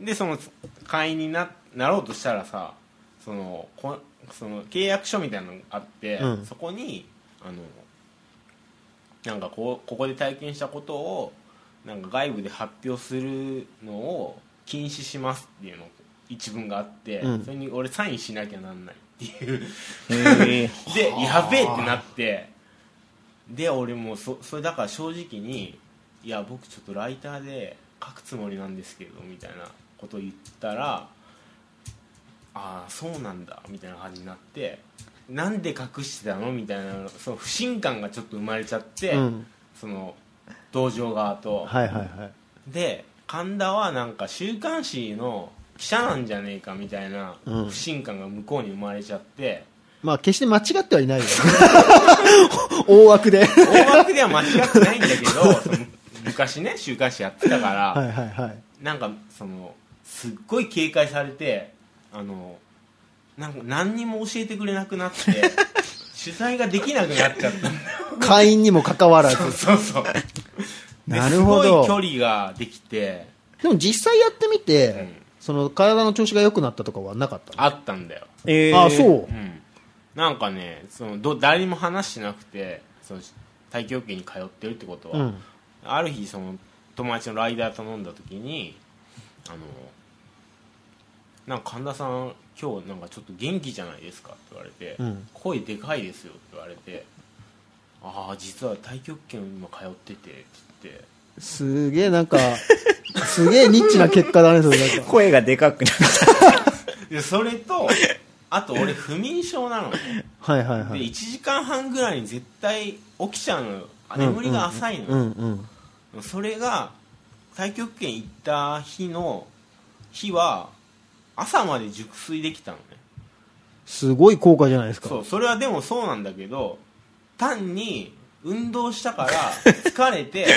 B: でその会員にななろうとしたらさそのこその契約書みたいなのがあって、
A: うん
B: そこにあのなんかこうここで体験したことをなんか外部で発表するのを禁止しますっていうの一文があって、
A: うん
B: それに俺サインしなきゃなんないっていう
C: へえ。
B: でやべえってなってで俺もうそそれだから正直に「いや僕ちょっとライターで書くつもりなんですけど」みたいなこと言ったら「ああそうなんだ」みたいな感じになって「なんで隠してたの?」みたいなその不信感がちょっと生まれちゃって、
A: うん
B: その道場側と、
A: はいはいはい。
B: で神田はなんか週刊誌の記者なんじゃねえかみたいな
A: うん
B: 不信感が向こうに生まれちゃって。
A: まあ、決して間違ってはいないよ。 [LAUGHS] 大枠で。は
B: 大枠では間違ってないんだけど
A: [LAUGHS]
B: その昔ね週刊誌やってたから、
A: いはいはい。
B: なんかそのすっごい警戒されてあのなんか何にも教えてくれなくなって
A: [LAUGHS]
B: 取材ができなくなっちゃったんだよ
A: 会員にもかかわらず。
B: そうそうで
A: なるほど
B: すごい距離ができて
A: でも実際やってみて、
B: ん
A: その体の調子が良くなったとかはなかったの
B: あったんだよ
C: え
A: ああ、そう
B: う。んなんかねそのど誰にも話してなくてその体教家に通ってるってことは、
A: うん。
B: ある日その友達のライダー頼んだ時にあのなんか神田さん今日なんかちょっと元気じゃないですかって言われて、
A: うん
B: 声でかいですよって言われてああ実は太極拳今通っててって言って
A: すげえなんか、すげえニッチな結果だね、それなんか。
C: 声がでかくなった。
B: でそれとあと俺不眠症なのね
A: はいはいは
B: で1
A: い。時
B: 時間半ぐらいに絶対起きちゃうのよあ眠りが浅いのよ、
A: うんうん。
B: それが太極拳行った日の日は朝まで熟睡できたのね
A: すごい効果じゃないですか。
B: そうそれはでもそうなんだけど単に運動したから疲れ [LAUGHS] て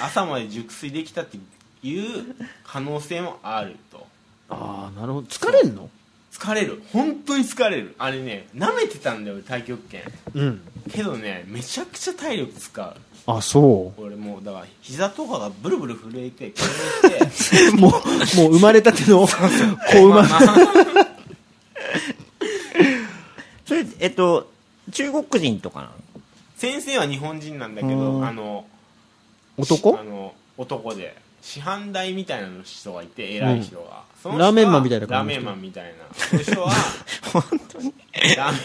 B: 朝まで熟睡できたっていう可能性もあると
A: ああ、なるほど。疲れんの
B: 疲れる本当に疲れるあれね舐めてたんだよ太極拳
A: うん。
B: けどねめちゃくちゃ体力使う
A: あ、そ
B: 俺もうだから膝とかがブルブル震え [LAUGHS] て痙攣して
A: う。もう、もう生まれたての、子馬。
C: それ、えっと、中国人とかなの
B: 先生は日本人なんだけ
A: う
B: ど
A: ん
B: あの
A: 男
B: あの男で師範代みたいな人がいて偉い人が、その人は
A: ラーメンマンみたいな
B: ラー
A: 感じの
B: メ
A: 人
B: ンマンみたいなそ
A: [LAUGHS]
B: の人は
C: 本当に
B: ラーメン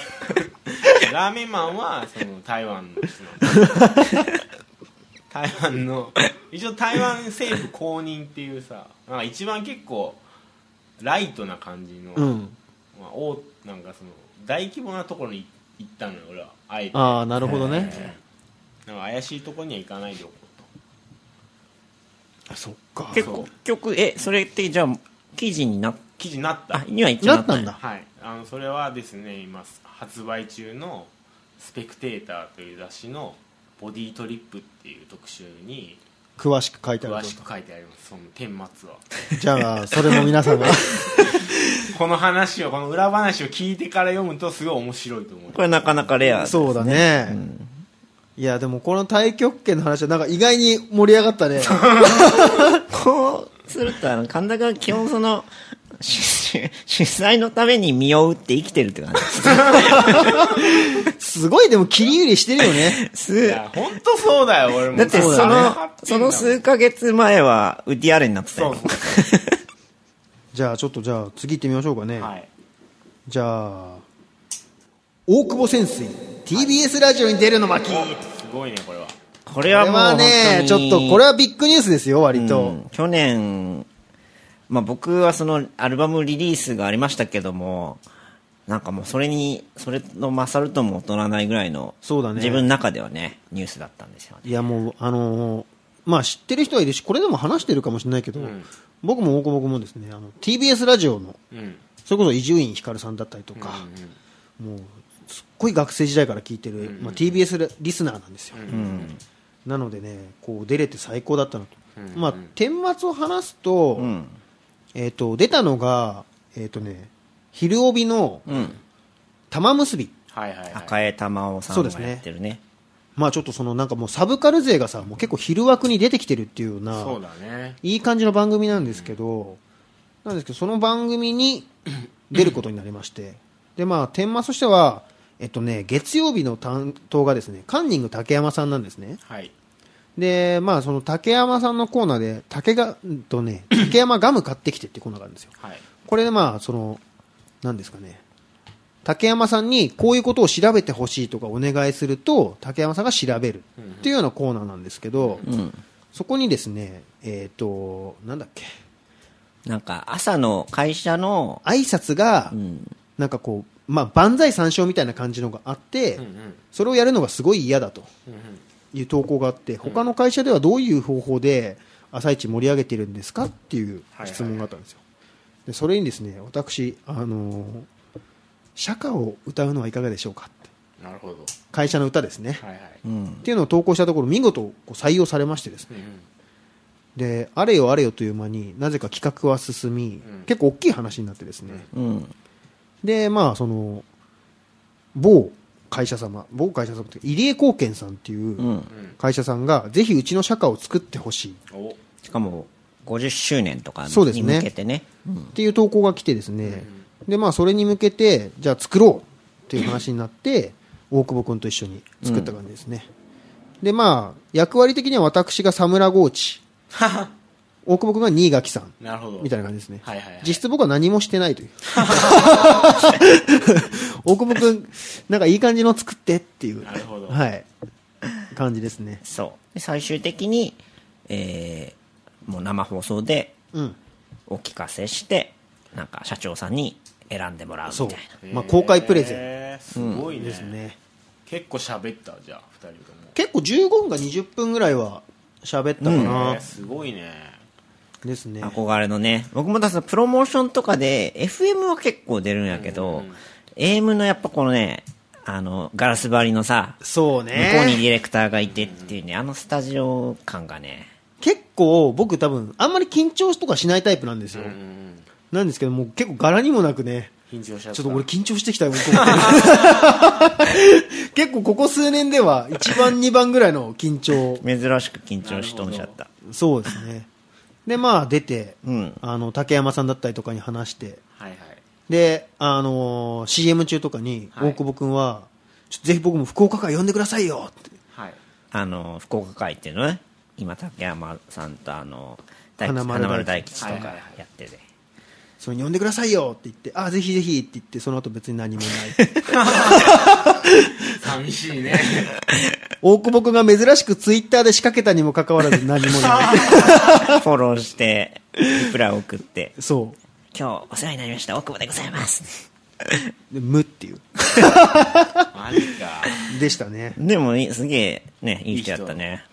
B: [LAUGHS] ラーメンマンはその台湾の人なんだ台湾の一応台湾政府公認っていうさなんか一番結構ライトな感じの、
A: うん。
B: まあ、おなんかその大規模なところに行ったのよ俺はあえて
A: ああ、なるほどね。
B: なんか怪しいとこには行かないでおこうと
A: あそっか。
C: 結
B: そう
C: 局、え、それってじゃあ、記事になっ
B: 記事になった
C: た、には一応
A: なったんだ。
B: はい、あのそれはですね今発売中の「スペクテーター」という雑誌の「ボディトリップ」っていう特集に
A: 詳しく書いてあ
B: 詳
A: る
B: しく書いてありますその顛末は [LAUGHS]
A: じゃあ、それも皆さんが。
B: この話をこの裏話を聞いてから読むとすごい面白いと思う
C: これなかなかレア。
A: [LAUGHS] そうだね。いや、でもこの太極拳の話はなんか意外に盛り上がった [LAUGHS] ね。
C: こうすると、あの、神田が基本その、主主催のために身を打って生きてるって感じです。
A: すごいでも切り売りしてるよ [LAUGHS] ね。
B: い
C: す
B: や本当そうだよ俺も
C: だってそ
A: そう
C: の、
B: だね
C: その数ヶ月前は、ウディアレンになってた
B: そ
C: よ
B: う。そう
A: じゃあちょっとじゃあ次行ってみましょうかね。
B: はい
A: じゃあ、大久保潜水、TBS ラジオに出るの巻。こ
B: すごいねこれは
C: これ
A: れ
C: はもう
A: は
C: 本当
A: ね
C: に。、
A: ちょっとこれはビッグニュースですよ、
C: う
A: 割
C: ん
A: と。
C: 去年、まあ、僕はそのアルバムリリースがありましたけどもなんかもうそれにそれの勝るとも劣らないぐらいの
A: そうだね
C: 自分の中ではねニュースだったんですよね
A: いやもう、あのーまあ知ってる人はいるし、これでも話してるかもしれないけど、僕も大久保君もですね、あの TBS ラジオの、
B: うん
A: それこそ伊集院光さんだったりとか、もう、すっごい学生時代から聞いてる、まあ、TBS リスナーなんですよ。なのでね、こう出れて最高だったなと。まあ、顛末を話すと、
C: ん
A: えっ、と、出たのが、えっ、とね、昼帯の
C: うん
A: 玉結び。
B: はいはいはい
C: 赤江玉緒さんがやってるね
A: まあちょっとそのなんかもうサブカル勢がさ、もう結構昼枠に出てきてるっていうような、
B: そうだね
A: いい感じの番組なんですけど、なんですけど、その番組に [CLEARS THROAT] 出ることになりまして、で、まあ、天末としては、えっとね、月曜日の担当がですね、カンニング竹山さんなんですね。
B: はい
A: で、まあ、その竹山さんのコーナーで、竹が、うんとね、竹山ガム買ってきてっていうコーナーがあるんですよ。
B: はい
A: これでまあ、その、なんですかね、竹山さんにこういうことを調べてほしいとかお願いすると、竹山さんが調べるっていうようなコーナーなんですけど、そこにですね、えっ、と、なんだっけ、
C: なんか朝の会社の
A: 挨拶が、
C: ん
A: なんかこう、まあ、万歳三唱みたいな感じのがあって、それをやるのがすごい嫌だという投稿があって、他の会社ではどういう方法で朝一盛り上げてるんですかっていう質問があったんですよ。でそれにですね、私、あのー釈迦を歌うのはいかがでしょうかって、
B: なるほど
A: 会社の歌ですね。
B: はいはい
A: っていうのを投稿したところ、見事こう採用されましてですね、で、あれよあれよという間になぜか企画は進み、結構大きい話になってですね、
C: うん
A: で、まあ、その、某会社様、某会社様っていうか、入江貢献さんっていう
C: うん
A: 会社さんが、ぜひうちの社歌を作ってほしい
B: お
C: しかも50周年とか
A: そうです
C: に
A: ね
C: 向けてね
A: っていう投稿が来てですね、で、まあ、それに向けて、じゃあ作ろうっていう話になって、大久保君と一緒に作った感じですね。で、まあ、役割的には私がサムラゴー
B: [LAUGHS]
A: チ、大久保君が新垣さん、
B: なるほど
A: みたいな感じですね。
B: はいはいはい
A: 実質僕は何もしてない
B: [LAUGHS]
A: という。大久保くん、なんかいい感じの作ってっていう。
B: なるほど
A: はい。感じですね。
C: そうで最終的に、えーもう生放送で
A: うん。
C: お聞かせしてなんか社長さんに選んでもらうみた
A: そ
C: いうな。
A: まあ、公開プレゼ
B: へーすごいね,、
A: ンですね。
B: 結構喋ったじゃあ2人とも
A: 結構15分か20分ぐらいは喋ったか
B: ね
A: な。
B: すごいね
A: ですね。
C: 憧れのね僕もだからそのプロモーションとかで FM は結構出るんやけど、AM のやっぱこのねあのガラス張りのさ
A: そう
C: 向こう
A: ね。
C: にディレクターがいてっていうねあのスタジオ感がね
A: 結構僕多分、あんまり緊張とかしないタイプなんですよ。
B: うん
A: なんですけども、結構柄にもなくね。
B: 緊張しちゃった
A: ちょっと俺緊張してきたよ、僕結構ここ数年では1番、2番ぐらいの緊張。
C: 珍しく緊張しとんしゃった
A: そうですね。で、まあ出て、
C: うん
A: あの、竹山さんだったりとかに話して、
B: はいはい
A: で、あのー CM 中とかに
B: はい
A: 大久保くんは、ちょっとぜひ僕も福岡から呼んでくださいよって [LAUGHS]
B: はい
C: あの福岡会っていうのね今竹山さんとあの大吉
A: 花
C: 花
A: 丸大吉
C: 丸大吉とか
B: はいはいはい
C: やってて、
A: それに呼んでくださいよって言って、あ、ぜひぜひって言って、その後別に何もない。
B: 寂しいね
A: 大久保くんが珍しくツイッターで仕掛けたにもかかわらず何もない。
C: フォローしてリプライ送って
A: そう。
C: 「今日お世話になりました大久保でございます」
A: で無っていう。
B: マジか
A: でしたね。
C: でもいいすげえねいい人やったね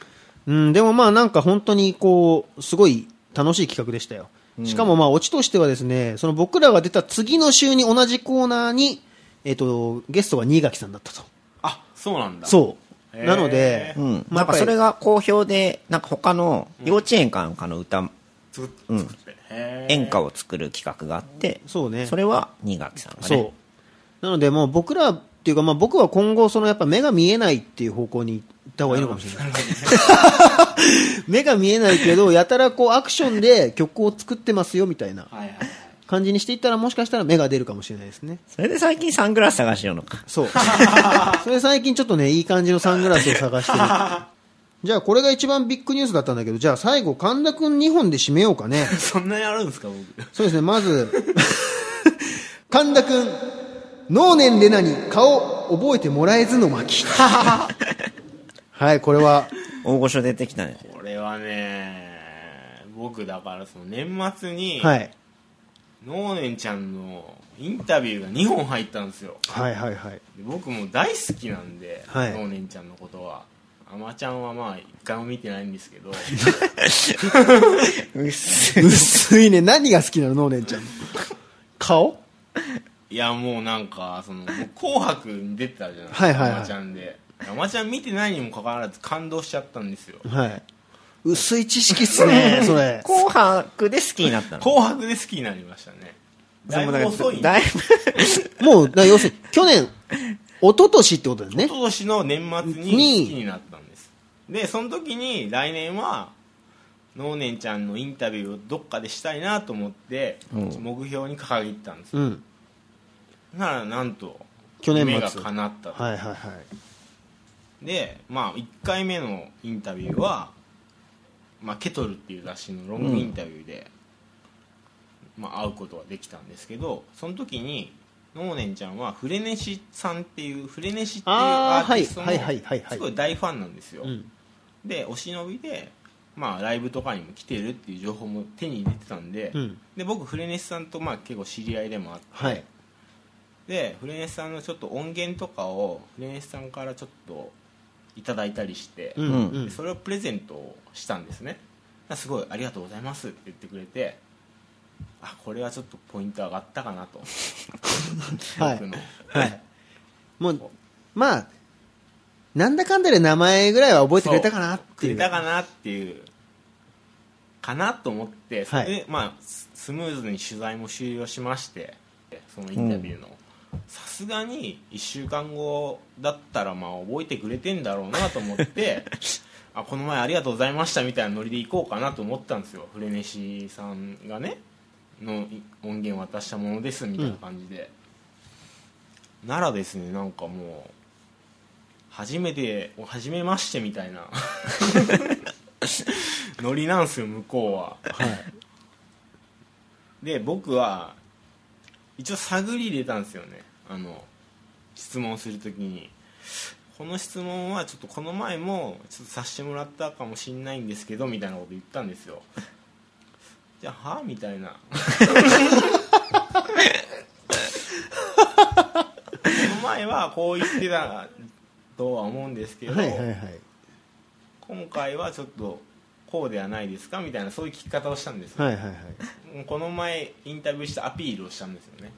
A: うん、でもまあなんか本当にこう、すごい楽しい企画でしたよ。しかもまあオチとしてはですね、その僕らが出た次の週に同じコーナーに、えっ、と、ゲストが新垣さんだったと。
B: あそうなんだ
A: そう。
B: へー
A: なので、
C: うん、
A: まあ
C: なんかそれ
A: やっ
C: が好評でなんか他の幼稚園かなんかの歌、
B: 作っ作ってへー
C: 演歌を作る企画があって
A: そうね
C: それは新垣さん
A: ぱり
C: がね
A: そう。なのでもう僕らっていうかまあ僕は今後そのやっぱ目が見えないっていう方向に行った方がいいのかもしれない。 [LAUGHS] 目が見えないけど、やたらこうアクションで曲を作ってますよみたいな
B: はいはいはい
A: 感じにしていったらもしかしたら目が出るかもしれないですね。
C: それで最近サングラス探しようのか
B: [LAUGHS]
A: そう。それ最近ちょっとね、いい感じのサングラスを探
B: [LAUGHS]
A: してる。じゃあこれが一番ビッグニュースだったんだけど、じゃあ最後神田くん2本で締めようかね。
B: そんなにあるんですか僕
A: そうですね、まず、 [LAUGHS] 神田くん、能年レナに顔覚えてもらえずの [LAUGHS] 巻。はい、これは、
C: 大御所出てきたね
B: これはね僕だからその年末に、
A: はい
B: ノーネンちゃんのインタビューが2本入ったんですよ
A: はいはいはい
B: で僕も大好きなんで、
A: はい
B: ノーネンちゃんのことはアマちゃんはまあ一回も見てないんで
A: [LAUGHS]
B: すけど
C: うっす
A: 薄いね何が好きなのノーレンちゃんの顔
B: いやもうなんかその「紅白」に出てたじゃないですか
A: はいはいはい
B: アマちゃんでアマちゃん見てないにもかかわらず感動しちゃったんですよ
A: はい薄い知識っすねそれ
C: 紅白で好きになったの。
B: 紅白で好きになりましたねだいぶ遅いんで
C: だい
A: もうだから要するに去年一昨年ってことですね
B: 一昨年の年末に
A: に
B: 好きになったんですでその時に来年は能年ちゃんのインタビューをどっかでしたいなと思って
C: うん
B: 目標に掲げてたんですよ
A: うん
B: ならなんと
A: 去年末
B: 夢が叶ったと、
A: はいはいはい
B: でまあ1回目のインタビューは、まあ、ケトルっていう雑誌のロングインタビューで、まあ、会うことができたんですけどその時に能年ちゃんはフレネシさんっていうフレネシっていうア
A: あー
B: ーティスト
A: はいはいはいはいは
B: の
A: い
B: すごい大ファンなんですよ、
A: うん
B: でお忍びで、まあ、ライブとかにも来てるっていう情報も手に入れてたんで,、
A: うん
B: で僕フレネシさんとまあ結構知り合いでもあって
A: はい
B: でフレネスさんのちょっと音源とかをフレネスさんからちょっといただいたりして、
A: うん
C: う
A: うん
B: それをプレゼントしたんですねだからすごい「ありがとうございます」って言ってくれてあこれはちょっとポイント上がったかなと
A: [LAUGHS] はい
B: 僕の
A: はいもうまあなんだかんだで名前ぐらいは覚えてくれたかなっていう
B: そうくれたかなっていうかなと思ってそれで、
A: は
B: まあ、ススムーズに取材も終了しましてそのインタビューのさすがに1週間後だったらまあ覚えてくれてんだろうなと思ってあこの前ありがとうございましたみたいなノリで行こうかなと思ったんですよフレネシさんがねのい音源渡したものですみたいな感じで、ならですねなんかもう初めてお初めましてみたいな [LAUGHS] ノリなんすよ向こうは、で僕は一応探り入れたんですよねあの質問するときにこの質問はちょっとこの前もちょっとさせてもらったかもしんないんですけどみたいなこと言ったんで
A: [LAUGHS]
B: すよじゃあはみたいなこの前はこう言ってたとは思うんですけど、
A: はいはいはい
B: 今回はちょっとこうではないですかみたいなそういう聞き方をしたんですよ
A: はいはいはい
B: この前インタビューしたアピールをしたんですよね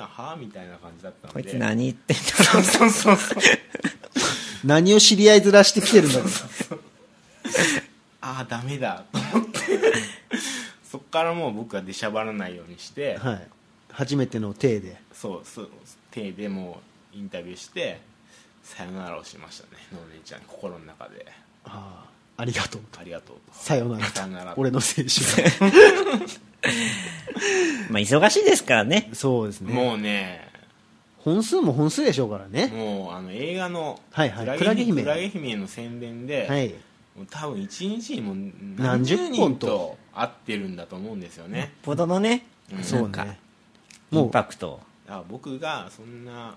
B: なはみたいな感じだっ
C: [LAUGHS]
B: たん
C: こ
B: で
C: いつ何言ってんだ
B: そうそうそうそう
A: 何を知り合いずらしてきてるんだろう
B: ああダメだと思ってそっからもう僕は出しゃばらないようにして、 [LAUGHS]
A: はい初めての体で
B: そうそう手でもうインタビューしてさよならをしましたねのお姉ちゃん心の中で
A: ああありがとう
B: ありがとうと
A: さよなら
B: さよなら
A: 俺の青春が
C: まあ忙しいですからね。
A: そうですね
B: もうね
A: 本数も本数でしょうからね
B: もうあの映画の
A: はいはい
B: ク
A: クラ
B: ラゲ
A: ゲ姫
B: クラゲ姫の宣伝で、
A: はい
B: もう多分一日にも何
A: 何
B: 十
A: 十
B: 人
A: 本と
B: と会ってるんだと思うんですよね、
C: ほどのね、
A: そう
C: なんか
A: ね
C: イ
A: も
C: ン
A: う
C: パクト。
B: だから僕がそんな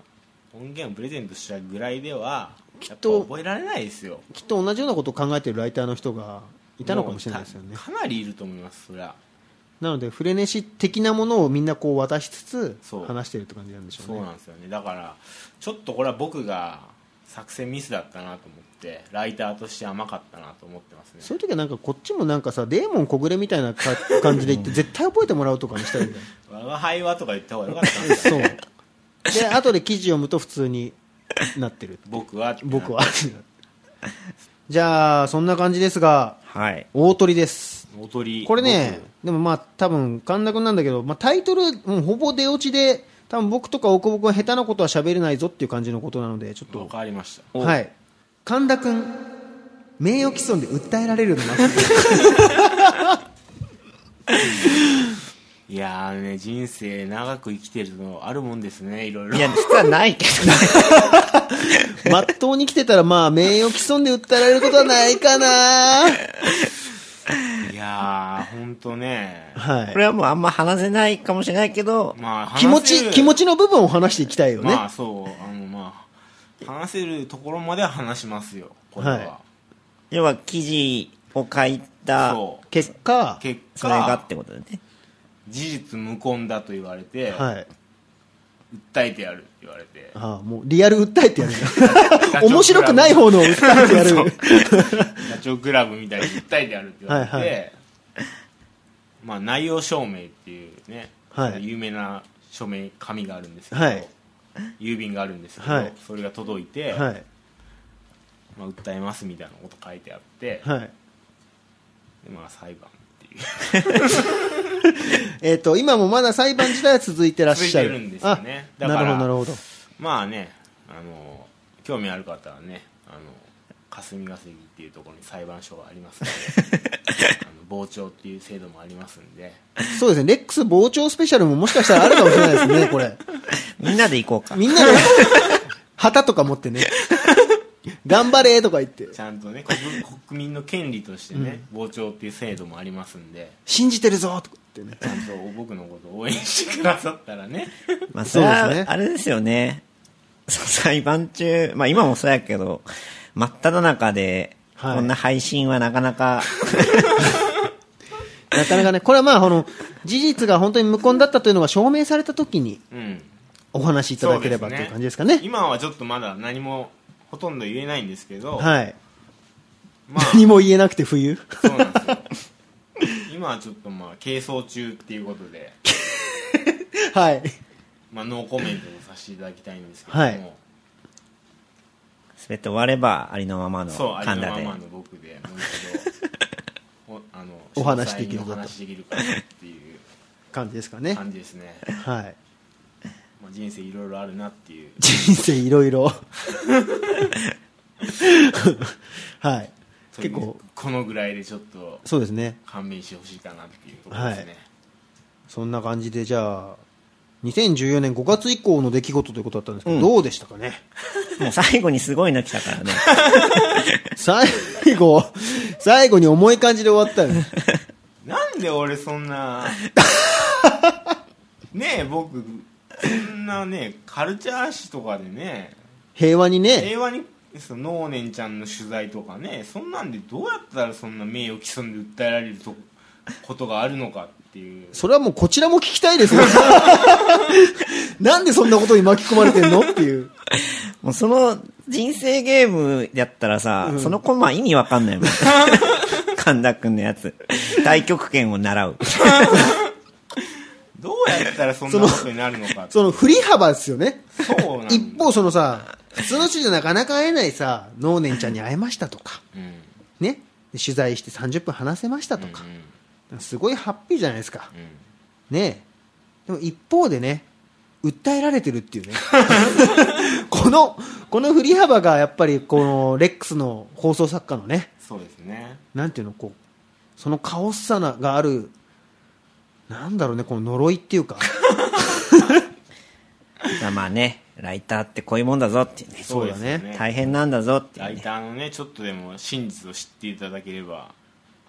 B: 音源をプレゼントしたぐらいではやっぱ
A: と
B: 覚えられないですよ
A: きっと同じようなことを考えてるライターの人がいたのかもしれないですよね
B: もうたかなりいると思いますそりゃ
A: なのでフレネシ的なものをみんなこう渡しつつ
B: そう
A: 話してるって感じなんでしょう
B: そう
A: ね
B: なんですよねだからちょっとこれは僕が作戦ミスだったなと思ってライターとして甘かったなと思ってますね
A: そういう時はなんかこっちもなんかさデーモン小暮みたいなか感じで言って絶対覚えてもらうとかにしたいんだよ
B: 我が輩はとか言った方がよかったんだ
A: そうで後で記事読むと普通になって
B: [LAUGHS]
A: る
B: 僕はってな
A: 僕はじゃあそんな感じですが
C: はい。
A: 大鳥です
B: おとり
A: これねでもまあ多分神田君なんだけど、まあ、タイトル、うん、ほぼ出落ちで多分僕とか大久保君は下手なことは喋れないぞっていう感じのことなのでちょっ
B: 僕わ
A: と
B: かりました
A: はい神田君名誉毀損で訴えられるのな
B: いやーね人生長く生きてるのあるもんですねいろいろ
C: いや、実はないけどね。
A: まっとうに来てたらまあ名誉毀損で訴えられることはないかない
B: やー、ほんとね。
A: は
C: これはもうあんま話せないかもしれないけど、
B: まあ、
A: い気持
B: 話せ
A: ち
B: る
A: 気持ちの部分を話していきたいよね、
B: まあ、そう、あの、まあ、話せるところまでは話しますよ、これは。
A: は
C: 要は記事を書いた
B: そう
A: 結果、
B: 結
C: それが
B: 果
C: ってことだね
B: 事実無根だと言われて、
A: はい。
B: 訴えてやるって言われて
A: ああ、もうリアル訴えてや
B: [LAUGHS]
A: る。面白くない方の訴えてやる。
B: ダチョウ倶楽部みたいに訴えてやるって言われて
A: はいはい
B: まあ、内容証明っていうね、
A: はい
B: 有名な署名紙があるんですけど、
A: はい
B: 郵便があるんですけど、
A: はい
B: それが届いて、
A: はい。
B: まあ、訴えますみたいなこと書いてあって、
A: はい。
B: でまあ、裁判っていう
A: えっ、と、今もまだ裁判自体は続いてらっしゃる。
B: 続いてるんですよね
A: あ
B: だから
A: なるほど、なるほど。
B: [LAUGHS] まあねあの興味ある方はねあの霞が関っていうところに裁判所がありますの
A: [LAUGHS]
B: であの傍聴っていう制度もありますんで
A: そうですね、レックス傍聴スペシャルももしかしたらあるかもしれないですね、
B: [LAUGHS]
A: これ。
C: みんなで行こうか
A: みんなで、旗とか持ってね、頑張れとか言って、
B: ちゃんとね国国民の権利としてね、傍聴っていう制度もありますんで
A: 信じてるぞとか言ってね。
B: ちゃんと僕のことを応援してくださったらね
C: まあ、それは
A: そうですね
C: あれですよね。そう裁判中、まあ今もそうやけど、真っ只中で、
A: はい
C: こんな配信はなかなか、
A: なかなかね、これはまあ、あの、事実が本当に無根だったというのが証明された時に
B: うん
A: お話しいただければという感じですかね。
B: 今はちょっとまだ何もほとんど言えないんですけ
A: [LAUGHS]
B: ど、
A: はい。
B: まあ
A: 何も言えなくて冬 [LAUGHS]
B: そうなんですよ今はちょっとまあ係争中っていうことで
A: はい。
B: まあ、ノーコメントをさせていただきたいんですけども、
A: はい
C: すべて終われば、ありのままの
B: そうあ
C: 神
B: りの
C: 田
B: ま
C: で。
B: まの僕でもう一度おあの
A: お話しできる
B: 詳
A: ぞと
B: 細にお話しできるかなっていう
A: 感じですかね。
B: 感じですね、
A: はい。
B: まあ、人生いろいろあるなっていう
A: 人生いろいろ。 [LAUGHS] はい。
B: そうい
A: 結
B: う
A: 構、
B: このぐらいでちょっと
A: そうですね。
B: 勘弁してほしいかなっていうところですね、
A: そんな感じで、じゃあ、2014年5月以降の出来事ということだったんですけど、
C: うん
A: どうでしたかね
C: もう最後にすごいの来たからね。
A: 最後、最後に重い感じで終わったよね。
B: なんで俺そ
A: [LAUGHS]
B: んなねえ僕そんなねカルチャー誌とかでね
A: 平和に
B: [LAUGHS]
A: ね、
B: 平和にその能年ちゃんの取材とかねそんなんでどうやったらそんな名誉毀損で訴えられるとことがあるのかっていう
A: それはもうこちらも聞きたいです
B: [LAUGHS]
A: よ。なんでそんなことに巻き込まれてんのっていう。
C: もうその人生ゲームやったらさ、そのコマ意味わかんないもん。神田くんのやつ。太極拳を習う。
B: どうやったらそんなことになるのか
A: その振り幅ですよね。
B: そうなんだ
A: 一方、そのさ、普通の人じゃなかなか会えないさ、能年ちゃんに会えましたとか、
B: うん
A: ね。で取材して30分話せましたと
B: うん
A: か、すごいハッピーじゃないですか。
B: うん
A: ねえでも一方でね訴えられてるっ
B: [LAUGHS]
A: ていうねこのこの振り幅がやっぱりこのレックスの放送作家のね
B: そうですね
A: なんていうのこうそのカオスさながあるなんだろうねこの呪いっていうか
C: まあまあね、ライターってこういうもんだぞっていうね。
A: そうだね
B: です
C: 大変なんだぞっていう
B: ライ
C: ね。
B: ターのねちょっとでも真実を知っていただければ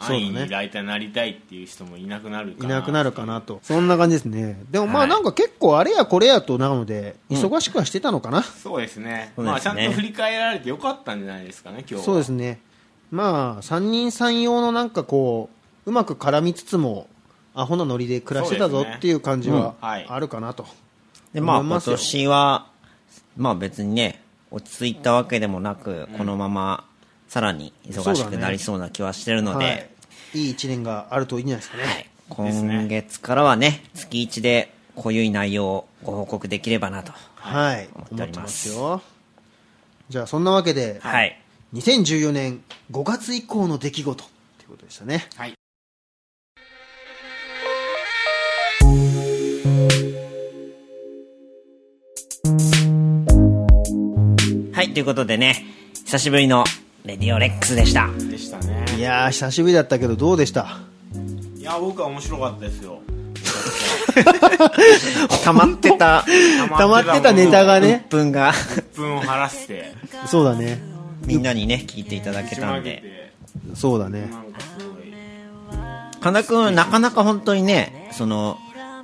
A: そうだ
B: 安
A: ね
B: 易にライターになりたいっていう人もいなくなるか
A: い
B: な
A: なくなるかなとそんな感じですねでもま
B: は
A: あ
B: い
A: なんか結構あれやこれやとなので忙しくはしてたのかな、
B: そうですね
C: そうですね
B: まあちゃんと振り返られてよかったんじゃないですかね今日は
A: そうですね、まあ、三人三様のなんかこう、うまく絡みつつも、アホなノリで暮らしてた
B: そ
A: ぞ
B: うですね
A: っていう感じは
B: うんはい
A: あるかなと、
C: で、まあ
A: 思いま
C: 今
A: すよ
C: 年は、まあ別にね、落ち着いたわけでもなく、このままさらに忙しくなりそうな気はしてるので、
A: はい、いい一年があるといいんじゃないですかね。
B: ですね
C: 今月からはね、月1でこういう内容をご報告できればなと。
A: はい、
C: 思って
A: 思って
C: おり
A: ま
C: ますす
A: よ。じゃあ、そんなわけで、
C: はい。
A: 2014年5月以降の出来事ってことでしたね。
B: はい
C: はい、ということでね、久しぶりのレディオレックスでした。
B: でしたね
A: いやー、久しぶりだったけど、どうでした
B: いや僕は面白かったですよ
C: 溜まってた
A: 溜まってたネタがね、
C: 鬱憤が
B: 1分を晴
A: [LAUGHS]
B: らして
A: そうだね、
C: みんなにね、聞いていただけ
B: ち
C: た
B: ま
C: ん
B: げ
C: で。
B: て
A: そうだね。
B: なんかすごい
C: 神田くん、なかなか本当にね、その、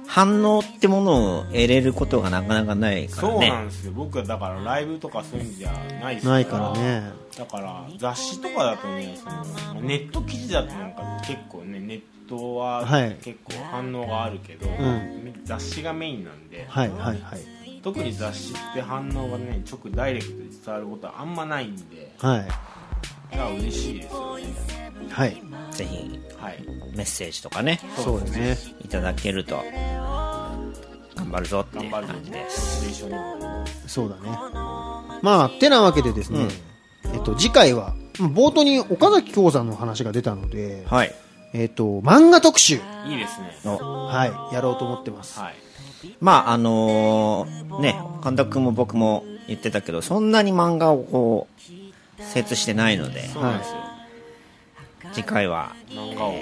C: 反応ってものを得れることがなかなかないから
B: そうなん
C: ね
B: ですよ僕はだからライブとかそういうんじゃないです
A: ないからね
B: だから雑誌とかだとねそのまあネット記事だとなんか結構ねネットは
A: はい
B: 結構反応があるけど、
A: ん
B: 雑誌がメインなんで、
A: はいはいはい
B: 特に雑誌って反応がね直ダイレクトに伝わることはあんまないんで
A: は
B: だから嬉しいですよね
A: いはい
C: ぜひ
B: はい
C: メッセージとかね
A: そうですね
C: いただけると頑張るぞってい
B: 頑
C: う
B: 張る
C: 感
B: の
C: じ
B: で
C: です
B: 一緒に
A: そうだねまあてなわけでですね、えっと、次回はうん冒頭に岡崎京さんの話が出たので、
C: はい
A: えっと、漫画特集、
B: いいですね
C: の
A: はい、やろうと思ってます、
B: はい
C: まああのーね神田君も僕も言ってたけどそんなに漫画をこう精通してないので
B: そうなんですよ、
C: 次回は
B: 漫画を、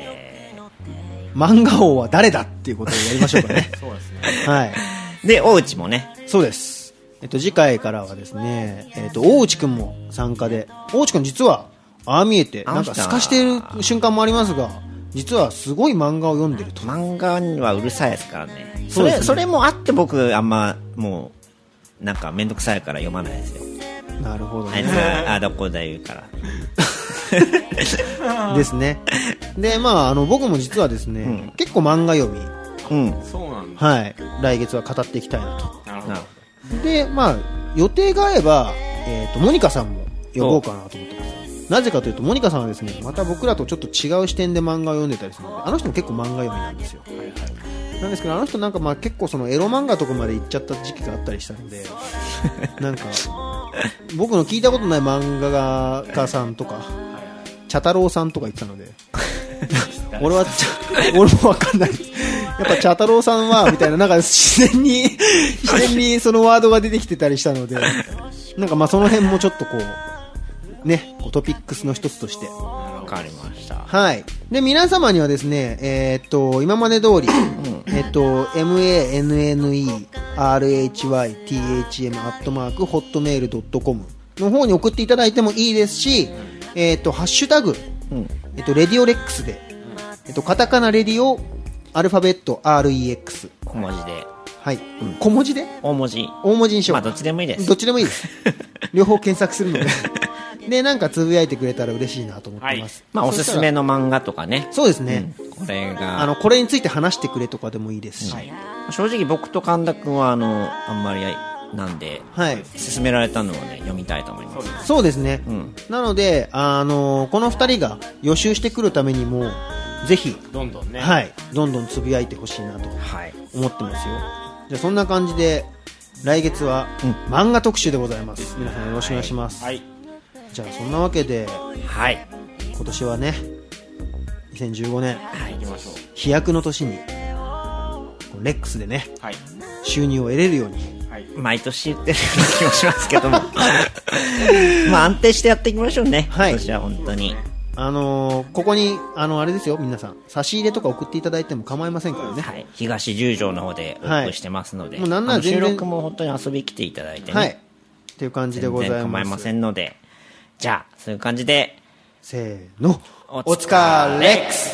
A: 漫画王は誰だっていうことをやりましょうかね
B: [LAUGHS] そうですね
A: はい
C: で大内もね
A: そうです、えっと、次回からはですね、えっと、大内くんも参加で大内くん実はああ見えて
C: あ
A: なんか透かしている瞬間もありますが実はすごい漫画を読んでると
C: 漫画にはうるさいですからね
A: そ
C: そうれ
A: ですね
C: それもあって僕あんまもうなんか面倒くさいから読まないですよ
A: [LAUGHS] なるほど
C: あいつ
A: ね
C: があどこだ言うから
A: ですねでまああの僕も実はですね、
C: ん
A: 結構漫画読み
C: うん
B: そうなんだ
A: はい来月は語っていきたいなと
B: なるほど
C: なるほ
A: でまあ予定が合えば、えっとモニカさんも呼ぼうかなと思ってますなぜかというとモニカさんはですねまた僕らとちょっと違う視点で漫画を読んでたりするのであの人も結構漫画読みなんですよ
B: はいはい
A: なんですけどあの人なんかまあ結構そのエロ漫画とかまで行っちゃった時期があったりしたのでなんか僕の聞いたことない漫画家さんとか茶太郎さんとか言ってたので俺はちゃ俺もわかんないですやっぱ茶太郎さんはみたいななんか自然に自然にそのワードが出てきてたりしたのでなんかまあその辺もちょっとこうねこうトピックスの一つとして
C: わかりました
A: はい。で、皆様にはですね、えーっと、今まで通り、えーっと、mannerhythm.hotmail.com の方に送っていただいてもいいですし、えーっと、ハッシュタグ、
C: うん
A: えーっと、レディオレックスで、えーっと、カタカナレディオ、アルファベット REX。
C: 小文字で
A: はい。小文字で
C: 大文字
A: 大文字にしよう。
C: まあどっちでもいいです
A: どっちでもいい
C: [LAUGHS]
A: です。両方検索するので。で、なんかつぶやいてくれたら嬉しいなと思ってます。
C: まあおすすめの漫画とかね
A: そうですね。
C: これが
A: あの、これについて話してくれとかでもいいですし。はい。
C: 正直僕と神田君はあのあんまりなんで勧められたのをね読みたいと思います
A: そうですね。
C: ん
A: なので、あのこの二人が予習してくるためにも、ぜひ、
B: どんどんね
A: はい、どんどんつぶやいてほしいなと
C: はい
A: 思ってますよ。じゃあ、そんな感じで、来月は、漫画特集でございます。皆さんよろしくお願いします。
B: はい
A: じゃあ、そんなわけで、
C: はい
A: 今年はね、2015年、
B: 行きましょ
A: 飛躍の年に、このレックスでね、
B: うはい
A: 収入を得れるように、
B: はい
C: 毎年言ってるような気もしますけども
A: [LAUGHS]
C: まあ安定してやっていきましょうね、
A: はい
C: 今年は本当に
A: あのーここに、あの、あれですよ、皆さん。差し入れとか送っていただいても構いませんからね。
C: はい、東十条の方でオープンしてますの
A: は
C: で、
A: いもうなんなら
C: あの
A: 全
C: 収
A: 然
C: 録も本当に遊びに来ていただいてね、
A: はい。っていう感じで
C: 全
A: ございま
C: 然
A: す。
C: 構いませんのでじゃあそういう感じで
A: せーの。
C: お
A: お
C: 疲れ
A: 疲れレックス